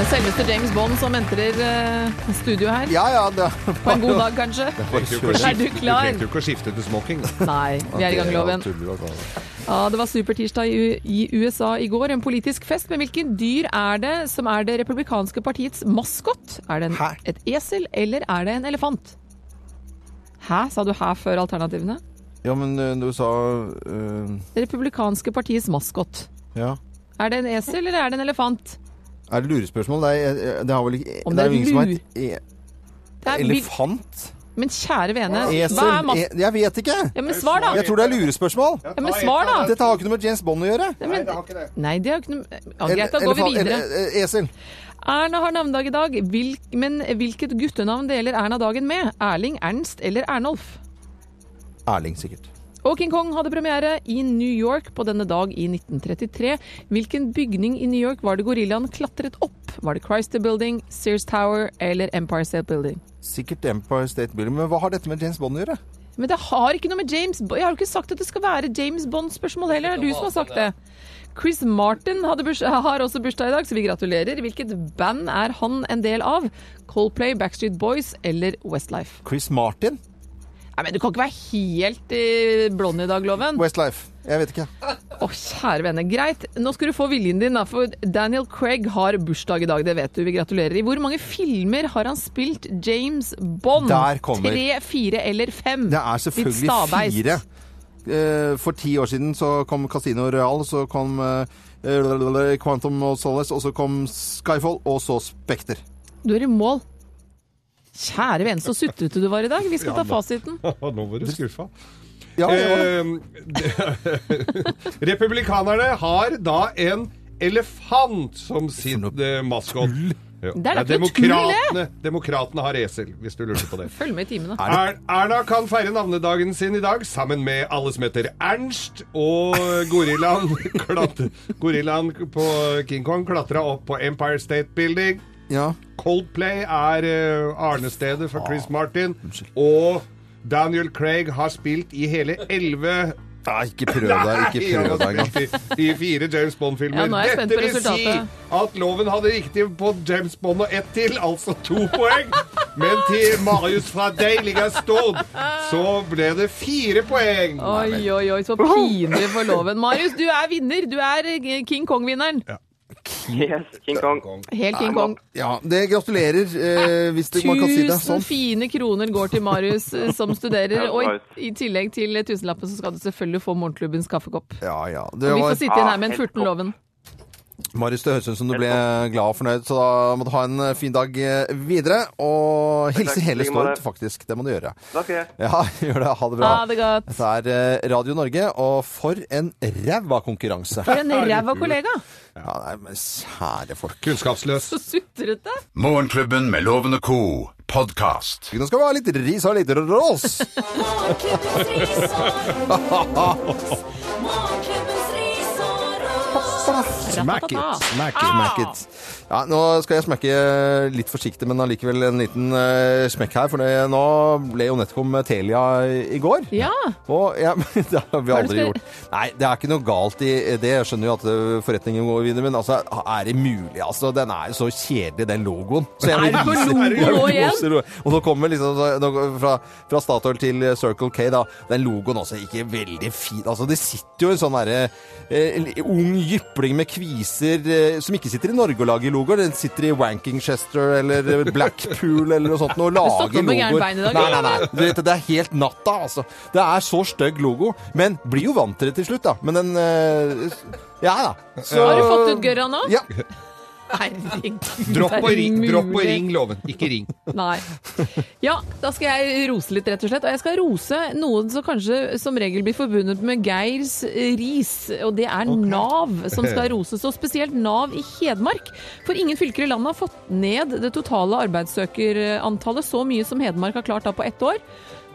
[SPEAKER 3] Det er Selveste James Bond som entrer eh, studio her.
[SPEAKER 2] Ja, ja, [laughs]
[SPEAKER 3] På en god dag, kanskje? Er du klar?
[SPEAKER 4] trengte jo ikke å skifte til smoking. da.
[SPEAKER 3] Nei, vi er i gang, Loven.
[SPEAKER 11] altså?
[SPEAKER 3] Ja, Det var supertirsdag i U- i USA i går, en politisk fest. Men hvilket dyr er det som er det republikanske partiets maskot? Er det en, et esel, eller er det en elefant? Hæ, sa du her før alternativene?
[SPEAKER 2] Ja, men eh, du sa eh,
[SPEAKER 3] Det republikanske partiets maskot.
[SPEAKER 2] Ja.
[SPEAKER 3] Er det en esel, eller er det en elefant?
[SPEAKER 2] Er det lurespørsmål? Det, er, eh, det har vel ikke
[SPEAKER 3] Om
[SPEAKER 2] det er
[SPEAKER 3] det er
[SPEAKER 2] jo ingen som
[SPEAKER 3] lur-
[SPEAKER 2] vet e-
[SPEAKER 3] Det er vil-
[SPEAKER 2] Elefant?
[SPEAKER 3] Men kjære vene, hva er
[SPEAKER 2] Esel?
[SPEAKER 3] mas...
[SPEAKER 2] E jeg vet ikke.
[SPEAKER 3] Ja, men svar, da!
[SPEAKER 2] Jeg tror det er lurespørsmål.
[SPEAKER 3] Ja, men svar, da!
[SPEAKER 2] Dette har jo ikke noe med James Bond å gjøre.
[SPEAKER 3] Nei, det har ikke det. Nei, det har ikke noe ja, Greit, da går vi
[SPEAKER 2] Elefant-
[SPEAKER 3] videre.
[SPEAKER 2] ele- eh, Esel.
[SPEAKER 3] Erna har navnedag i dag, Hvil men hvilket guttenavn deler Erna dagen med? Erling, Ernst eller Ernolf?
[SPEAKER 2] Erling, sikkert.
[SPEAKER 3] Og King Kong hadde premiere i New York på denne dag i 1933. Hvilken bygning i New York var det gorillaen klatret opp? Var det Chrysler Building, Sears Tower eller Empire State Building?
[SPEAKER 2] Sikkert Empire State Building. Men hva har dette med James Bond å gjøre?
[SPEAKER 3] Men det har ikke noe med James Bond Jeg har jo ikke sagt at det skal være James Bond-spørsmål heller. Det er du som har sagt det. Chris Martin hadde burs har også bursdag i dag, så vi gratulerer. Hvilket band er han en del av? Coldplay, Backstreet Boys eller Westlife?
[SPEAKER 2] Chris Martin?
[SPEAKER 3] Nei, men Du kan ikke være helt eh, blond i dag, Loven. Å,
[SPEAKER 2] Westlife. Jeg vet ikke.
[SPEAKER 3] kjære vene. Greit, nå skal du få viljen din, da, for Daniel Craig har bursdag i dag. Det vet du. Vi gratulerer. I hvor mange filmer har han spilt James Bond?
[SPEAKER 2] Der kommer-
[SPEAKER 3] Tre, fire eller fem?
[SPEAKER 2] Det er
[SPEAKER 3] Ditt stabeis.
[SPEAKER 2] selvfølgelig fire. Eh, For ti år siden så kom Casino Royal, så kom eh, Quantum of Solace, og så kom Skyfall, og så Spekter.
[SPEAKER 3] Du er i mål. Kjære vene, så sutrete du var i dag. Vi skal
[SPEAKER 4] Ja,
[SPEAKER 3] ta
[SPEAKER 4] da.
[SPEAKER 3] fasiten.
[SPEAKER 4] Nå var du skuffa.
[SPEAKER 2] Ja, det var det.
[SPEAKER 4] Eh, Ehm, [laughs] Republikanerne har da en elefant som sin eh, maskot. Ja.
[SPEAKER 3] Det er da
[SPEAKER 4] Ja,
[SPEAKER 3] ikke noe tull,
[SPEAKER 4] demokratene, demokratene har esel, hvis du lurte på det.
[SPEAKER 3] Følg med i timene.
[SPEAKER 4] [laughs] Er, Erna kan feire navnedagen sin i dag sammen med alle som heter Ernst, og [laughs] gorillaen, klatre, gorillaen på King Kong klatra opp på Empire State Building.
[SPEAKER 2] Ja.
[SPEAKER 4] Coldplay er eh, arnestedet for Chris Martin, og Daniel Craig har spilt i hele elleve
[SPEAKER 2] Nei, ikke prøv deg. Ikke prøv deg engang.
[SPEAKER 4] i, I fire James Bond-filmer.
[SPEAKER 3] Ja, nå er jeg spent
[SPEAKER 4] Dette
[SPEAKER 3] på
[SPEAKER 4] vil si
[SPEAKER 3] resultatet.
[SPEAKER 4] at loven hadde riktig på James Bond og ett til, altså to poeng. Men til Marius fra deilige Stord så ble det fire poeng.
[SPEAKER 3] Oi, oi, oi, så pinlig for Loven. Marius, du er vinner. Du er eh, King Kong-vinneren.
[SPEAKER 12] Yes, King Kong.
[SPEAKER 3] Helt King Kong.
[SPEAKER 2] Ja, det gratulerer, eh, hvis det, man kan si det
[SPEAKER 3] Tusen
[SPEAKER 2] sånn.
[SPEAKER 3] fine kroner går til Marius eh, som studerer,
[SPEAKER 12] [laughs] Ja,
[SPEAKER 3] og i,
[SPEAKER 12] right.
[SPEAKER 3] i tillegg til eh, tusenlappen så skal du selvfølgelig få morgenklubbens kaffekopp.
[SPEAKER 2] Ja, ja.
[SPEAKER 3] Og
[SPEAKER 2] Det
[SPEAKER 3] vi
[SPEAKER 2] var
[SPEAKER 3] får sitte igjen her med en
[SPEAKER 12] Ah, helt
[SPEAKER 3] 14 loven.
[SPEAKER 2] Marius, det høres ut som du ble glad og fornøyd, så da må du ha en fin dag eh, videre. Og hilse
[SPEAKER 12] Takk,
[SPEAKER 2] hele
[SPEAKER 12] like måte.
[SPEAKER 2] Stord, faktisk. Det må du gjøre.
[SPEAKER 12] Da skal jeg.
[SPEAKER 2] Ja, [laughs] gjør det. Ha det bra.
[SPEAKER 3] Ha det godt.
[SPEAKER 2] Dette er eh, Radio Norge, og for en ræva konkurranse.
[SPEAKER 3] For en ræva kollega.
[SPEAKER 2] Ja, nei, men kjære folk.
[SPEAKER 4] Kunnskapsløs.
[SPEAKER 3] Så sutrete.
[SPEAKER 1] Morgenklubben med Loven og Co. podkast.
[SPEAKER 2] Nå skal vi ha litt ris og litt ros.
[SPEAKER 8] Morgenklubbens ris og ros. Morgenklubbens ris og ros.
[SPEAKER 2] Smack it.
[SPEAKER 3] Ratatata.
[SPEAKER 2] Smack it.
[SPEAKER 3] Ah!
[SPEAKER 2] Smack it. Ja, nå skal jeg smekke litt forsiktig, men allikevel en liten eh, smekk her. For det, nå ble jo Netcom Telia i går.
[SPEAKER 3] Ja.
[SPEAKER 2] Og ja, [laughs] men det har vi
[SPEAKER 3] Hva er det
[SPEAKER 2] aldri
[SPEAKER 3] du skal-
[SPEAKER 2] gjort. Nei, det er ikke noe galt i det. Jeg skjønner jo at eh, forretningen går videre, men altså, er det mulig? Altså, den er jo så kjedelig, den logoen. Så
[SPEAKER 8] Er det på
[SPEAKER 2] viser-
[SPEAKER 8] logo
[SPEAKER 2] [laughs] Jeg vil
[SPEAKER 8] nå
[SPEAKER 2] vise lo- Og nå kommer liksom så- nå- fra, fra Statoil til eh, Circle K, da. Den logoen også ikke veldig fin. Altså, det sitter jo en sånn derre eh, en ung jypling med kviser eh, som ikke sitter i Norge og lager logoer. Den sitter i Wankingchester eller Blackpool eller noe sånt
[SPEAKER 3] [laughs]
[SPEAKER 2] nå og
[SPEAKER 3] Du
[SPEAKER 2] lager
[SPEAKER 3] står ikke opp
[SPEAKER 2] logoer.
[SPEAKER 3] med gærent bein i dag,
[SPEAKER 2] Nei, nei,
[SPEAKER 3] eller?
[SPEAKER 2] nei. Du vet, det er helt natta, altså. Det er så stygg logo. Men blir jo vant til det til slutt, da. Men den eh, Ja da. Så-
[SPEAKER 3] Har du fått ut gørra nå?
[SPEAKER 2] Ja.
[SPEAKER 3] Herregud.
[SPEAKER 4] Dropp
[SPEAKER 3] er
[SPEAKER 4] å
[SPEAKER 3] det
[SPEAKER 4] ring, dropp å
[SPEAKER 3] mulig?
[SPEAKER 4] ring loven. Ikke ring.
[SPEAKER 3] Nei. Ja, da skal jeg rose litt, rett og slett. Og jeg skal rose noen som kanskje som regel blir forbundet med Geirs eh, ris, og det er Nav som skal roses. Og spesielt Nav i Hedmark. For ingen fylker i landet har fått ned det totale arbeidssøkerantallet så mye som Hedmark har klart da på ett år.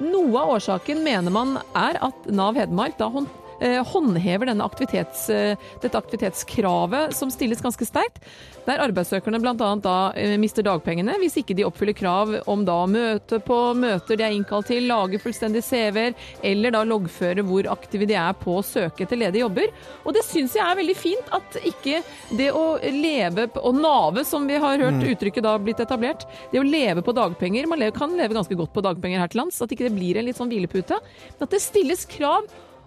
[SPEAKER 3] Noe av årsaken mener man er at Nav Hedmark da hånd eh, håndhever denne aktivitets, eh, dette aktivitetskravet som stilles ganske sterkt, der arbeidssøkerne bl.a. da eh, mister dagpengene hvis ikke de oppfyller krav om da å møte på møter de er innkalt til, lage fullstendig CV-er, eller da loggføre hvor aktive de er på å søke etter ledige jobber. Og det syns jeg er veldig fint at ikke det å leve p- og nave, som vi har hørt
[SPEAKER 11] Mm.
[SPEAKER 3] uttrykket da blitt etablert, det å leve på dagpenger Man le- kan leve ganske godt på dagpenger her til lands, at ikke det blir en litt sånn hvilepute. Men at det stilles krav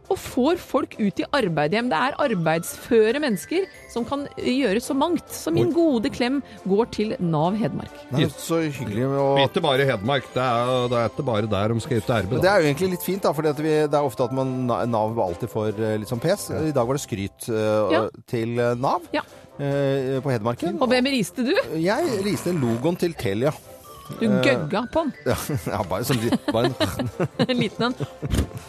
[SPEAKER 3] og får folk ut i arbeid igjen. Det er arbeidsføre mennesker som kan gjøre så mangt. Så min gode klem går til Nav Hedmark.
[SPEAKER 2] Nei, men så hyggelig å
[SPEAKER 4] Ikke bare Hedmark. Det er, det er ikke bare der de skal ut og
[SPEAKER 2] Men
[SPEAKER 4] arbeide.
[SPEAKER 2] det er jo egentlig litt fint, da, for det er ofte at man, Nav alltid får eh, litt sånn pes. I dag var det skryt eh,
[SPEAKER 3] Ja.
[SPEAKER 2] til eh, Nav
[SPEAKER 3] Ja.
[SPEAKER 2] eh, på Hedmarken.
[SPEAKER 3] Og hvem riste du?
[SPEAKER 2] Jeg riste logoen til Telia. [laughs]
[SPEAKER 3] Du
[SPEAKER 2] Eh,
[SPEAKER 3] gøgga på den.
[SPEAKER 2] Ja, ja bare, som, bare en
[SPEAKER 3] [laughs]
[SPEAKER 2] [laughs]
[SPEAKER 3] En liten en.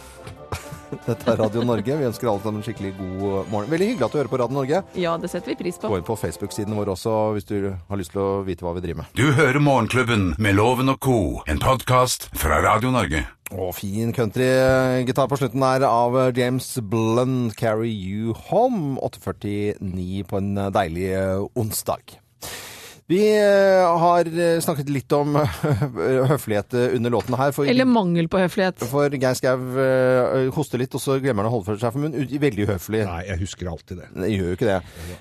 [SPEAKER 2] Dette er Radio Norge. Vi ønsker alle sammen en skikkelig god morgen. Veldig hyggelig at du hører på Radio Norge.
[SPEAKER 3] Ja, det setter vi pris
[SPEAKER 2] Gå
[SPEAKER 3] på.
[SPEAKER 2] inn på Facebook-siden vår også hvis du har lyst til å vite hva vi driver med.
[SPEAKER 1] Du hører Morgenklubben med Loven og Co., en podkast fra Radio Norge.
[SPEAKER 2] Og fin countrygitar på slutten her av eh, James Blunt, 'Carry You Home'. 8.49 på en deilig eh, onsdag. Vi eh, har eh, snakket litt om høflighet eh, under låten her. For
[SPEAKER 3] Eller mangel på høflighet.
[SPEAKER 2] For Geir Skau eh, hoster litt, og så glemmer han å holde for seg for munnen. U- Veldig uhøflig.
[SPEAKER 4] Nei, jeg husker alltid det.
[SPEAKER 2] Det gjør jo ikke det.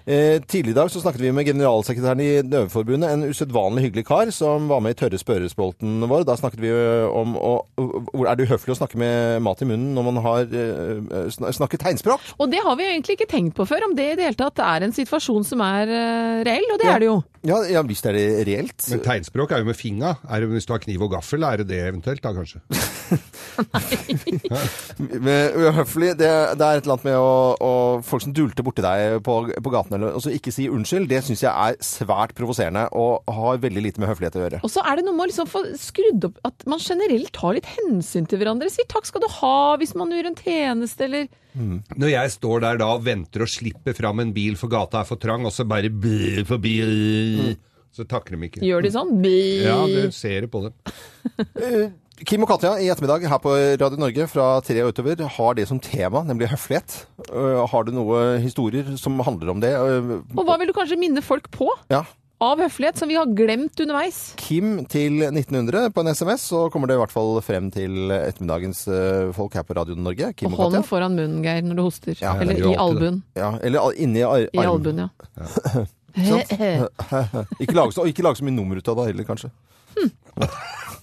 [SPEAKER 2] Eh, tidligere i dag så snakket vi med generalsekretæren i Døveforbundet, en usedvanlig hyggelig kar som var med i Tørre spørrespolten vår. Da snakket vi jo om å, hvor er det uhøflig å snakke med mat i munnen når man har eh, sn- snakket tegnspråk?
[SPEAKER 3] Og det har vi egentlig ikke tenkt på før, om det i det hele tatt er en situasjon som er eh, reell, og det er det jo.
[SPEAKER 2] Ja, ja hvis det er reelt.
[SPEAKER 4] Men tegnspråk er jo med finga. Er det, hvis du har kniv og gaffel, er det det eventuelt da, kanskje?
[SPEAKER 2] Men Uhøflig, det, det er et eller annet med å, å folk som dulter borti deg på, på gaten eller, og så ikke si unnskyld, det syns jeg er svært provoserende og har veldig lite med høflighet å gjøre.
[SPEAKER 3] Og så er det noe med å liksom få skrudd opp at man generelt tar litt hensyn til hverandre. Sier takk skal du ha hvis man gjør en tjeneste, eller
[SPEAKER 4] Når jeg står der da og venter og slipper fram en bil for gata er for trang, og så bare blir forbi Så takker de ikke.
[SPEAKER 3] gjør de sånn. Bi.
[SPEAKER 4] Ja, du ser det på dem.
[SPEAKER 2] Kim og Katja i ettermiddag her på Radio Norge fra tre og utover har det som tema, nemlig høflighet. Øh, har du noen historier som handler om det? Øh,
[SPEAKER 3] Og hva vil du kanskje minne folk på?
[SPEAKER 2] ja.
[SPEAKER 3] Av høflighet, som vi har glemt underveis.
[SPEAKER 2] Kim til 1900 på en SMS, så kommer det i hvert fall frem til ettermiddagens øh, folk her på Radio Norge. Kim og,
[SPEAKER 3] Hånden
[SPEAKER 2] Katja.
[SPEAKER 3] foran munnen, Geir, når du hoster.
[SPEAKER 2] Ja, det
[SPEAKER 3] eller
[SPEAKER 2] gjør
[SPEAKER 3] i
[SPEAKER 2] alltid
[SPEAKER 3] albuen.
[SPEAKER 2] det. Ja, eller al- inni ar
[SPEAKER 3] I albuen, ja. [laughs]
[SPEAKER 2] Sant? [laughs] ikke lage så, og ikke lage så mye nummer ut av det heller, kanskje.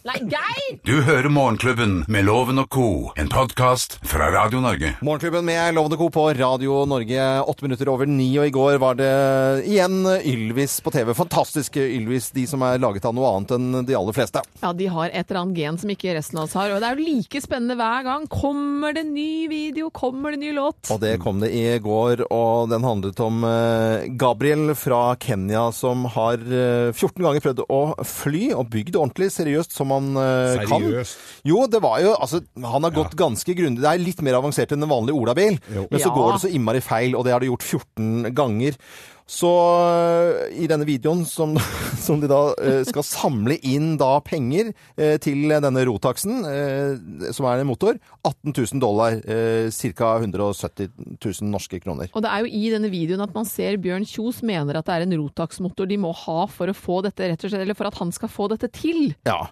[SPEAKER 3] Nei, Geir!
[SPEAKER 1] Du hører Morgenklubben med Loven og Co., en podkast fra Radio Norge.
[SPEAKER 2] Morgenklubben med Lovende Co. på Radio Norge, åtte minutter over ni. Og i går var det igjen Ylvis på TV. Fantastiske Ylvis, de som er laget av noe annet enn de aller fleste.
[SPEAKER 3] Ja, de har et eller annet gen som ikke resten av oss har. Og det er jo like spennende hver gang. Kommer det ny video? Kommer det ny låt?
[SPEAKER 2] Og det kom det i går, og den handlet om eh, Gabriel fra Kenya som har eh, 14 ganger prøvd å fly, og bygd ordentlig seriøst som han eh, kan.
[SPEAKER 4] Seriøst?
[SPEAKER 2] Jo, det var jo Altså, han har gått ganske grundig. Det er litt mer avansert enn en vanlig olabil, men så
[SPEAKER 3] Ja.
[SPEAKER 2] går det så innmari feil, og det har det gjort 14 ganger. Så eh, i denne videoen som, [laughs] som de da eh, skal samle inn da penger eh, til denne Rotaxen, eh, som er en motor, 18 000 dollar, eh, ca. 170 000 norske kroner.
[SPEAKER 3] Og det er jo i denne videoen at man ser Bjørn Kjos mener at det er en Rotax-motor de må ha for å få dette, rett og slett, eller for at han skal få dette til.
[SPEAKER 2] Ja.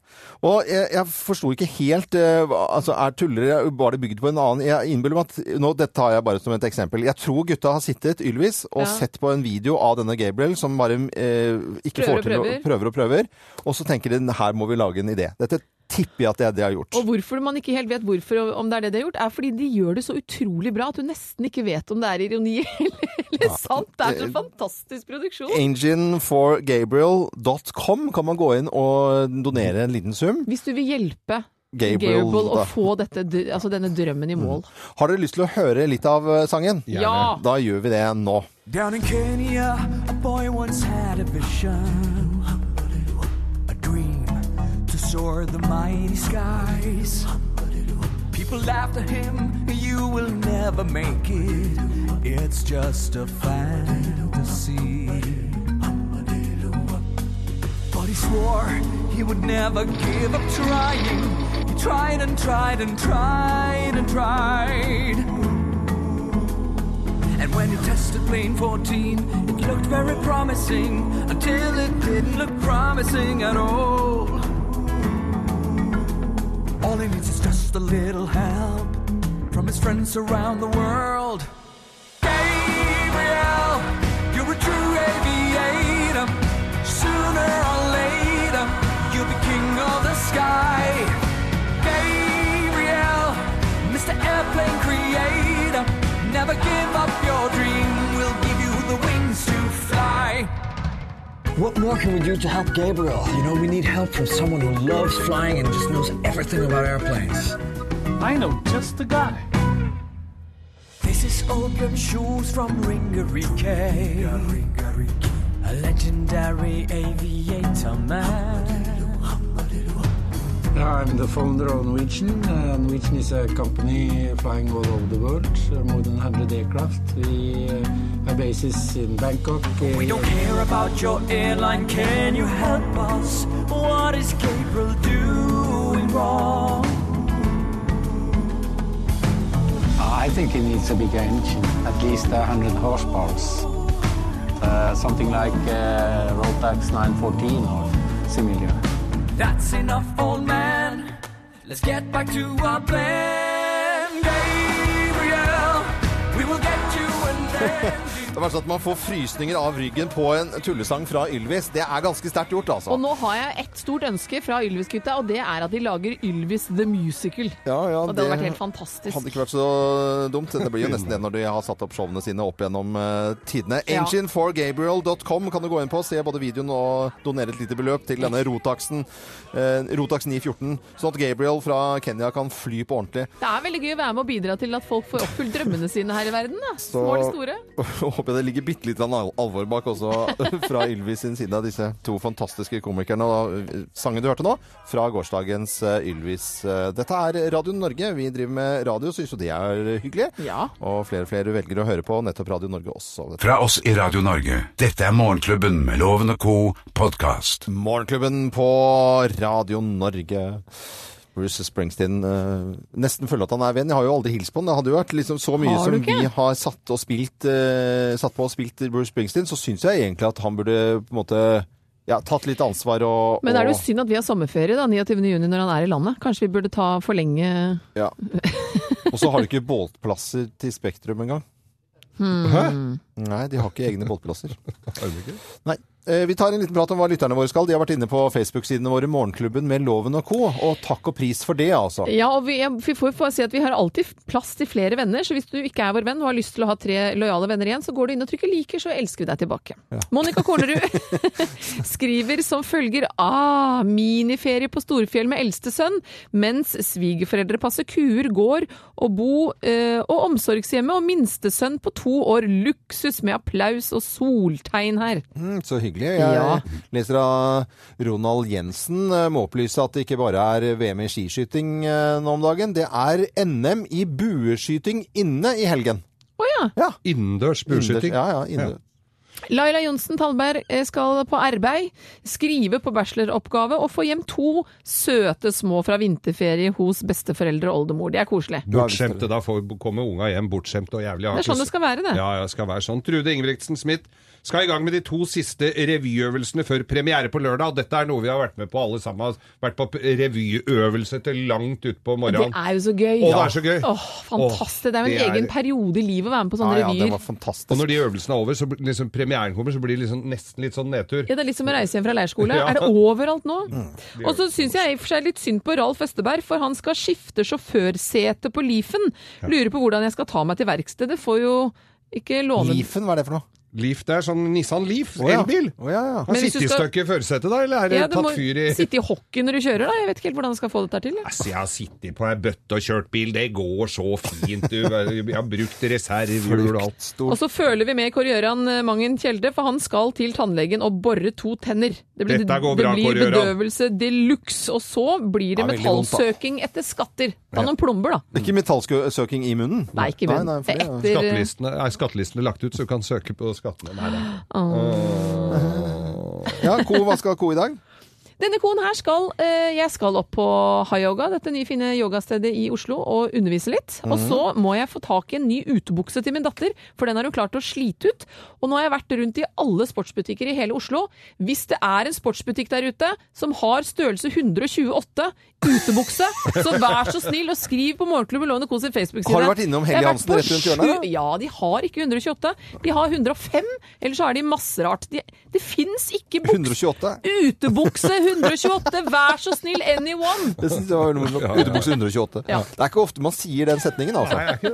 [SPEAKER 2] Og jeg, jeg forsto ikke helt eh, hva- altså, Er tullere bare bygd på en annen Jeg innbiller meg at nå, Dette tar jeg bare som et eksempel. Jeg tror gutta har sittet Ylvis og
[SPEAKER 3] Ja.
[SPEAKER 2] sett på en video av denne Gabriel som bare eh, ikke
[SPEAKER 3] Prøver og
[SPEAKER 2] får til
[SPEAKER 3] prøver.
[SPEAKER 2] å prøver og prøver, og så tenker de her må vi lage en idé. Dette tipper jeg at det er det jeg har gjort.
[SPEAKER 3] Og hvorfor man ikke helt vet hvorfor, og om det er det de har gjort, er fordi de gjør det så utrolig bra at du nesten ikke vet om det er ironi [laughs] eller, eller sant. Det er så
[SPEAKER 2] det- Eh,
[SPEAKER 3] fantastisk produksjon.
[SPEAKER 2] Engineforgabriel.com kan man gå inn og donere en liten sum.
[SPEAKER 3] Hvis du vil hjelpe
[SPEAKER 2] Gabriel,
[SPEAKER 3] Gabriel, å
[SPEAKER 2] da. Mm.
[SPEAKER 3] få dette, dr- altså denne drømmen i mål.
[SPEAKER 2] Har dere lyst til å høre litt av eh, sangen?
[SPEAKER 3] Ja.
[SPEAKER 2] Da gjør vi det nå.
[SPEAKER 11] Down in Kenya, a boy once had a vision. A dream to soar the mighty skies. People laughed at him, you will never make it. It's just a fantasy. But he swore he would never give up trying. He tried and tried and tried and tried. And when he tested plane 14, it looked very promising until it didn't look promising at all. All he needs is just a little help from his friends around the world. Gabriel, you're a true aviator. Sooner or later, you'll be king of the sky. Gabriel, Mr. Airplane Creator, never give up your dream. We'll give you the wings to fly.
[SPEAKER 13] What more can we do to help Gabriel? You know, we need help from someone who loves flying and just knows everything about airplanes.
[SPEAKER 11] I know just the guy.
[SPEAKER 13] This is Open Shoes from
[SPEAKER 11] Ringarike, a legendary aviator man.
[SPEAKER 14] I'm the founder of Norwegian. Uh, Norwegian is a company flying all over the world, uh, more than 100 aircraft. We uh, have bases in Bangkok. uh,
[SPEAKER 11] We don't care about your airline, can you help us? What is Gabriel doing wrong?
[SPEAKER 14] I think it needs a bigger engine, at least 100 horsepower. Uh, something like uh, Rotax 914 or similar.
[SPEAKER 11] That's enough, old man. Let's get back to our plan. Gabriel, we will get you and then.
[SPEAKER 2] Det var sånn at Man får frysninger av ryggen på en tullesang fra Ylvis. Det er ganske sterkt gjort, altså.
[SPEAKER 3] Og nå har jeg ett stort ønske fra Ylvis-gutta, og det er at de lager Ylvis The Musical. og det, hadde vært helt fantastisk.
[SPEAKER 2] Hadde ikke vært så dumt. Det blir jo nesten det når de har satt opp showene sine opp gjennom eh, tidene.
[SPEAKER 3] Ja.
[SPEAKER 2] Engineforgabriel.com kan du gå inn på, se både videoen og donere et lite beløp til denne Rotaxen. eh, Rotax 914, sånn at Gabriel fra Kenya kan fly på ordentlig.
[SPEAKER 3] Det er veldig gøy å være med og bidra til at folk får oppfylt drømmene sine her i verden. Da.
[SPEAKER 2] Så-
[SPEAKER 3] Små eller store.
[SPEAKER 2] Håper jeg det ligger bitte litt al alvor bak også [laughs] fra Ylvis sin side av disse to fantastiske komikerne. Og eh, sangen du hørte nå, fra gårsdagens eh, Ylvis. Eh, Dette er Radio Norge. Vi driver med radio, syns jo det er hyggelig. Og flere og flere velger å høre på nettopp Radio Norge også.
[SPEAKER 1] Fra oss i Radio Norge, dette er Morgenklubben med Loven og Co. podkast.
[SPEAKER 2] Morgenklubben på Radio Norge. Bruce Springsteen eh, Nesten føler at han er venn. Jeg har jo aldri hilst på han. Det hadde jo vært liksom så mye
[SPEAKER 3] Har du
[SPEAKER 2] som
[SPEAKER 3] ikke?
[SPEAKER 2] vi har satt, og spilt, eh, satt på og spilt Bruce Springsteen, så syns jeg egentlig at han burde på en måte ja, tatt litt ansvar og
[SPEAKER 3] Men er det
[SPEAKER 2] og-
[SPEAKER 3] jo synd at vi har sommerferie da, 29. juni når han er i landet? Kanskje vi burde ta forlenge
[SPEAKER 2] ja. Og så har de ikke båtplasser til Spektrum engang.
[SPEAKER 3] hmm.
[SPEAKER 2] Nei, de har ikke egne båtplasser. Nei. Eh, Vi tar en liten prat om hva lytterne våre skal. De har vært inne på Facebook-sidene våre, Morgenklubben med Loven og co. Og takk og pris for det, altså.
[SPEAKER 3] Ja, og vi, vi får få si at vi har alltid plass til flere venner, så hvis du ikke er vår venn og har lyst til å ha tre lojale venner igjen, så går du inn og trykker liker, så elsker vi deg tilbake. Monica Kålerud [laughs] skriver som følger ah, miniferie på Storfjell med eldste sønn, mens svigerforeldre passer kuer, gård og bo eh, og omsorgshjemme, og minstesønn på to år, luksus med applaus og soltegn her.
[SPEAKER 2] Mm, så hyggelig. Jeg
[SPEAKER 3] Ja.
[SPEAKER 2] leser av Ronald Jensen. eh, Må opplyse at det ikke bare er VM i skiskyting eh, nå om dagen. Det er NM i bueskyting inne i helgen.
[SPEAKER 3] Å ja.
[SPEAKER 4] Innendørs bueskyting.
[SPEAKER 2] Innendørs- Ja, ja, innendørs.
[SPEAKER 3] Laila Johnsen Tallberg eh, skal på arbeid, skrive på bacheloroppgave og få hjem to søte små fra vinterferie hos besteforeldre og oldemor. Det er koselig.
[SPEAKER 4] Bortskjemte. Da får, kommer unga hjem bortskjemte og jævlig. Jeg har
[SPEAKER 3] Det er sånn
[SPEAKER 4] ikke-
[SPEAKER 3] det skal være, det.
[SPEAKER 4] Ja, ja, skal være sånn. Trude Ingebrigtsen Smith skal i gang med de to siste revyøvelsene før premiere på lørdag. og Dette er noe vi har vært med på alle sammen. Vært på revyøvelse til langt utpå
[SPEAKER 3] Det
[SPEAKER 4] morgenen.
[SPEAKER 3] er jo så gøy.
[SPEAKER 4] Å, det er så gøy.
[SPEAKER 3] Åh, fantastisk. Det er jo en
[SPEAKER 4] Åh, det er-
[SPEAKER 3] egen periode i livet å være med på sånne revyer.
[SPEAKER 4] fantastisk. Og når de øvelsene er over, så blir- liksom premieren kommer, så blir det liksom nesten litt sånn nedtur.
[SPEAKER 3] Ja, Det er litt som å reise hjem fra leirskole.
[SPEAKER 4] [laughs] Ja.
[SPEAKER 3] Er det overalt nå?
[SPEAKER 4] Mm.
[SPEAKER 3] Og så syns jeg i og for seg litt synd på Ralf Østeberg, for han skal skifte sjåførsete på Leafen. Lurer på hvordan jeg skal ta meg til verkstedet. Får jo ikke låne
[SPEAKER 2] Leafen, hva er det for noe?
[SPEAKER 4] Leaf, det er sånn Nissan Leaf,
[SPEAKER 2] Å, ja.
[SPEAKER 4] elbil.
[SPEAKER 2] Å, ja, ja.
[SPEAKER 4] Har sittet i støkket i førersetet da, eller er det
[SPEAKER 3] Ja, du
[SPEAKER 4] Eh,
[SPEAKER 3] må
[SPEAKER 4] tatt fyr i
[SPEAKER 3] sitte i hockey når du kjører, da. Jeg vet ikke helt hvordan jeg skal få dette til. jeg.
[SPEAKER 4] Altså, jeg har sittet på ei bøtte og kjørt bil, det går så fint, du. Jeg har brukt reservehjul og alt.
[SPEAKER 3] Og så føler vi med Kåre Gjøran eh, Mangen Kjelde, for han skal til tannlegen og bore to tenner. Det blir,
[SPEAKER 4] Dette går bra,
[SPEAKER 3] det
[SPEAKER 4] Kåre
[SPEAKER 3] blir
[SPEAKER 4] Gjøran.
[SPEAKER 3] bedøvelse de luxe, og så blir det
[SPEAKER 2] Det er veldig vondt, da.
[SPEAKER 3] metallsøking etter skatter. Ta
[SPEAKER 2] Ja.
[SPEAKER 3] noen plomber, da.
[SPEAKER 2] Ikke metallsøking i munnen?
[SPEAKER 3] Nei, ikke i
[SPEAKER 2] Nei, nei,
[SPEAKER 3] munnen.
[SPEAKER 2] for
[SPEAKER 3] Det er
[SPEAKER 2] det-
[SPEAKER 3] etter-
[SPEAKER 4] Skattelistene, er skattelistene lagt ut, så du kan søke på skattene. Nei, nei.
[SPEAKER 2] Ja, ko, hva skal ko i dag?
[SPEAKER 3] Denne koen her skal eh, Jeg skal opp på Hayoga, dette nye fine yogastedet i Oslo, og undervise litt. Og
[SPEAKER 15] Mhm.
[SPEAKER 3] så må jeg få tak i en ny utebukse til min datter, for den har hun klart å slite ut. Og nå har jeg vært rundt i alle sportsbutikker i hele Oslo. Hvis det er en sportsbutikk der ute som har størrelse 128 utebukse, så vær så snill og skriv på Morgenklubben Lovende Kos sin Facebook-side.
[SPEAKER 2] Har du vært innom Helly
[SPEAKER 3] Jeg har vært
[SPEAKER 2] Hansen
[SPEAKER 3] på
[SPEAKER 2] rett rundt hjørnet,
[SPEAKER 3] sju-
[SPEAKER 2] da?
[SPEAKER 3] Ja, de har ikke 128. De har 105, eller så er de masse rart. De, det fins ikke buks
[SPEAKER 2] 128?
[SPEAKER 3] Utebukse 128, vær så snill, anyone!
[SPEAKER 2] Det synes jeg var veldig morsomt. Utebukse 128.
[SPEAKER 3] Ja.
[SPEAKER 2] Det er ikke ofte man sier den setningen, altså.
[SPEAKER 3] Nei,
[SPEAKER 2] Jeg
[SPEAKER 3] det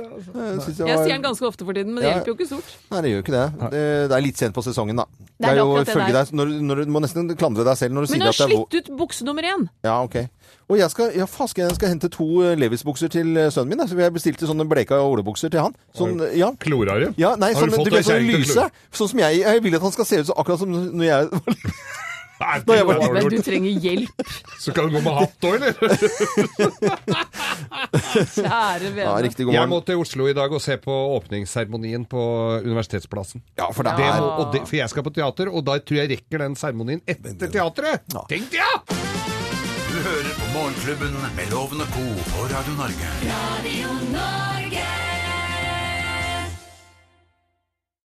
[SPEAKER 2] synes det
[SPEAKER 3] Jeg
[SPEAKER 2] var-
[SPEAKER 3] sier den ganske ofte for tiden, men det
[SPEAKER 2] Ja.
[SPEAKER 3] hjelper jo ikke stort.
[SPEAKER 2] Nei, det gjør ikke det. Det, det er litt sent på sesongen, da. Det er,
[SPEAKER 3] er
[SPEAKER 2] jo
[SPEAKER 3] akkurat det
[SPEAKER 2] ifølge
[SPEAKER 3] det er.
[SPEAKER 2] deg når, når Du må nesten klandre deg selv når du
[SPEAKER 3] Men
[SPEAKER 2] sier
[SPEAKER 3] hun har
[SPEAKER 2] at det er
[SPEAKER 3] slitt ut bukse nummer én.
[SPEAKER 2] Ja, ok. Og jeg skal, ja, fasken, jeg skal hente to eh, Levis-bukser til eh, sønnen min. da. Så jeg bestilte sånne bleka olebukser til han. Sånn, eh, ja.
[SPEAKER 4] Klorare?
[SPEAKER 2] Ja, nei,
[SPEAKER 4] Har
[SPEAKER 2] sånn,
[SPEAKER 4] du fått
[SPEAKER 2] det ble
[SPEAKER 4] deg
[SPEAKER 2] sånn
[SPEAKER 4] kjerring til å
[SPEAKER 2] lyse.
[SPEAKER 4] klore?
[SPEAKER 2] Sånn som jeg, jeg vil at han skal se ut som akkurat som når jeg [laughs] var
[SPEAKER 4] det
[SPEAKER 2] Når jeg
[SPEAKER 4] var
[SPEAKER 2] var
[SPEAKER 4] dårlig
[SPEAKER 3] Men
[SPEAKER 4] gjort.
[SPEAKER 3] du trenger hjelp,
[SPEAKER 4] Så kan du gå med hatt òg,
[SPEAKER 2] [laughs]
[SPEAKER 4] eller?
[SPEAKER 3] kjære vene.
[SPEAKER 4] Jeg må til Oslo i dag og se på åpningsseremonien på Universitetsplassen.
[SPEAKER 2] Ja, for det er-
[SPEAKER 4] må, og det, For jeg skal på teater, og da tror jeg rekker den seremonien etter teatret. Tenk det, ja!
[SPEAKER 1] Du hører på Morgenklubben med Loven og Co. på Radio Norge.
[SPEAKER 8] Radio Norge.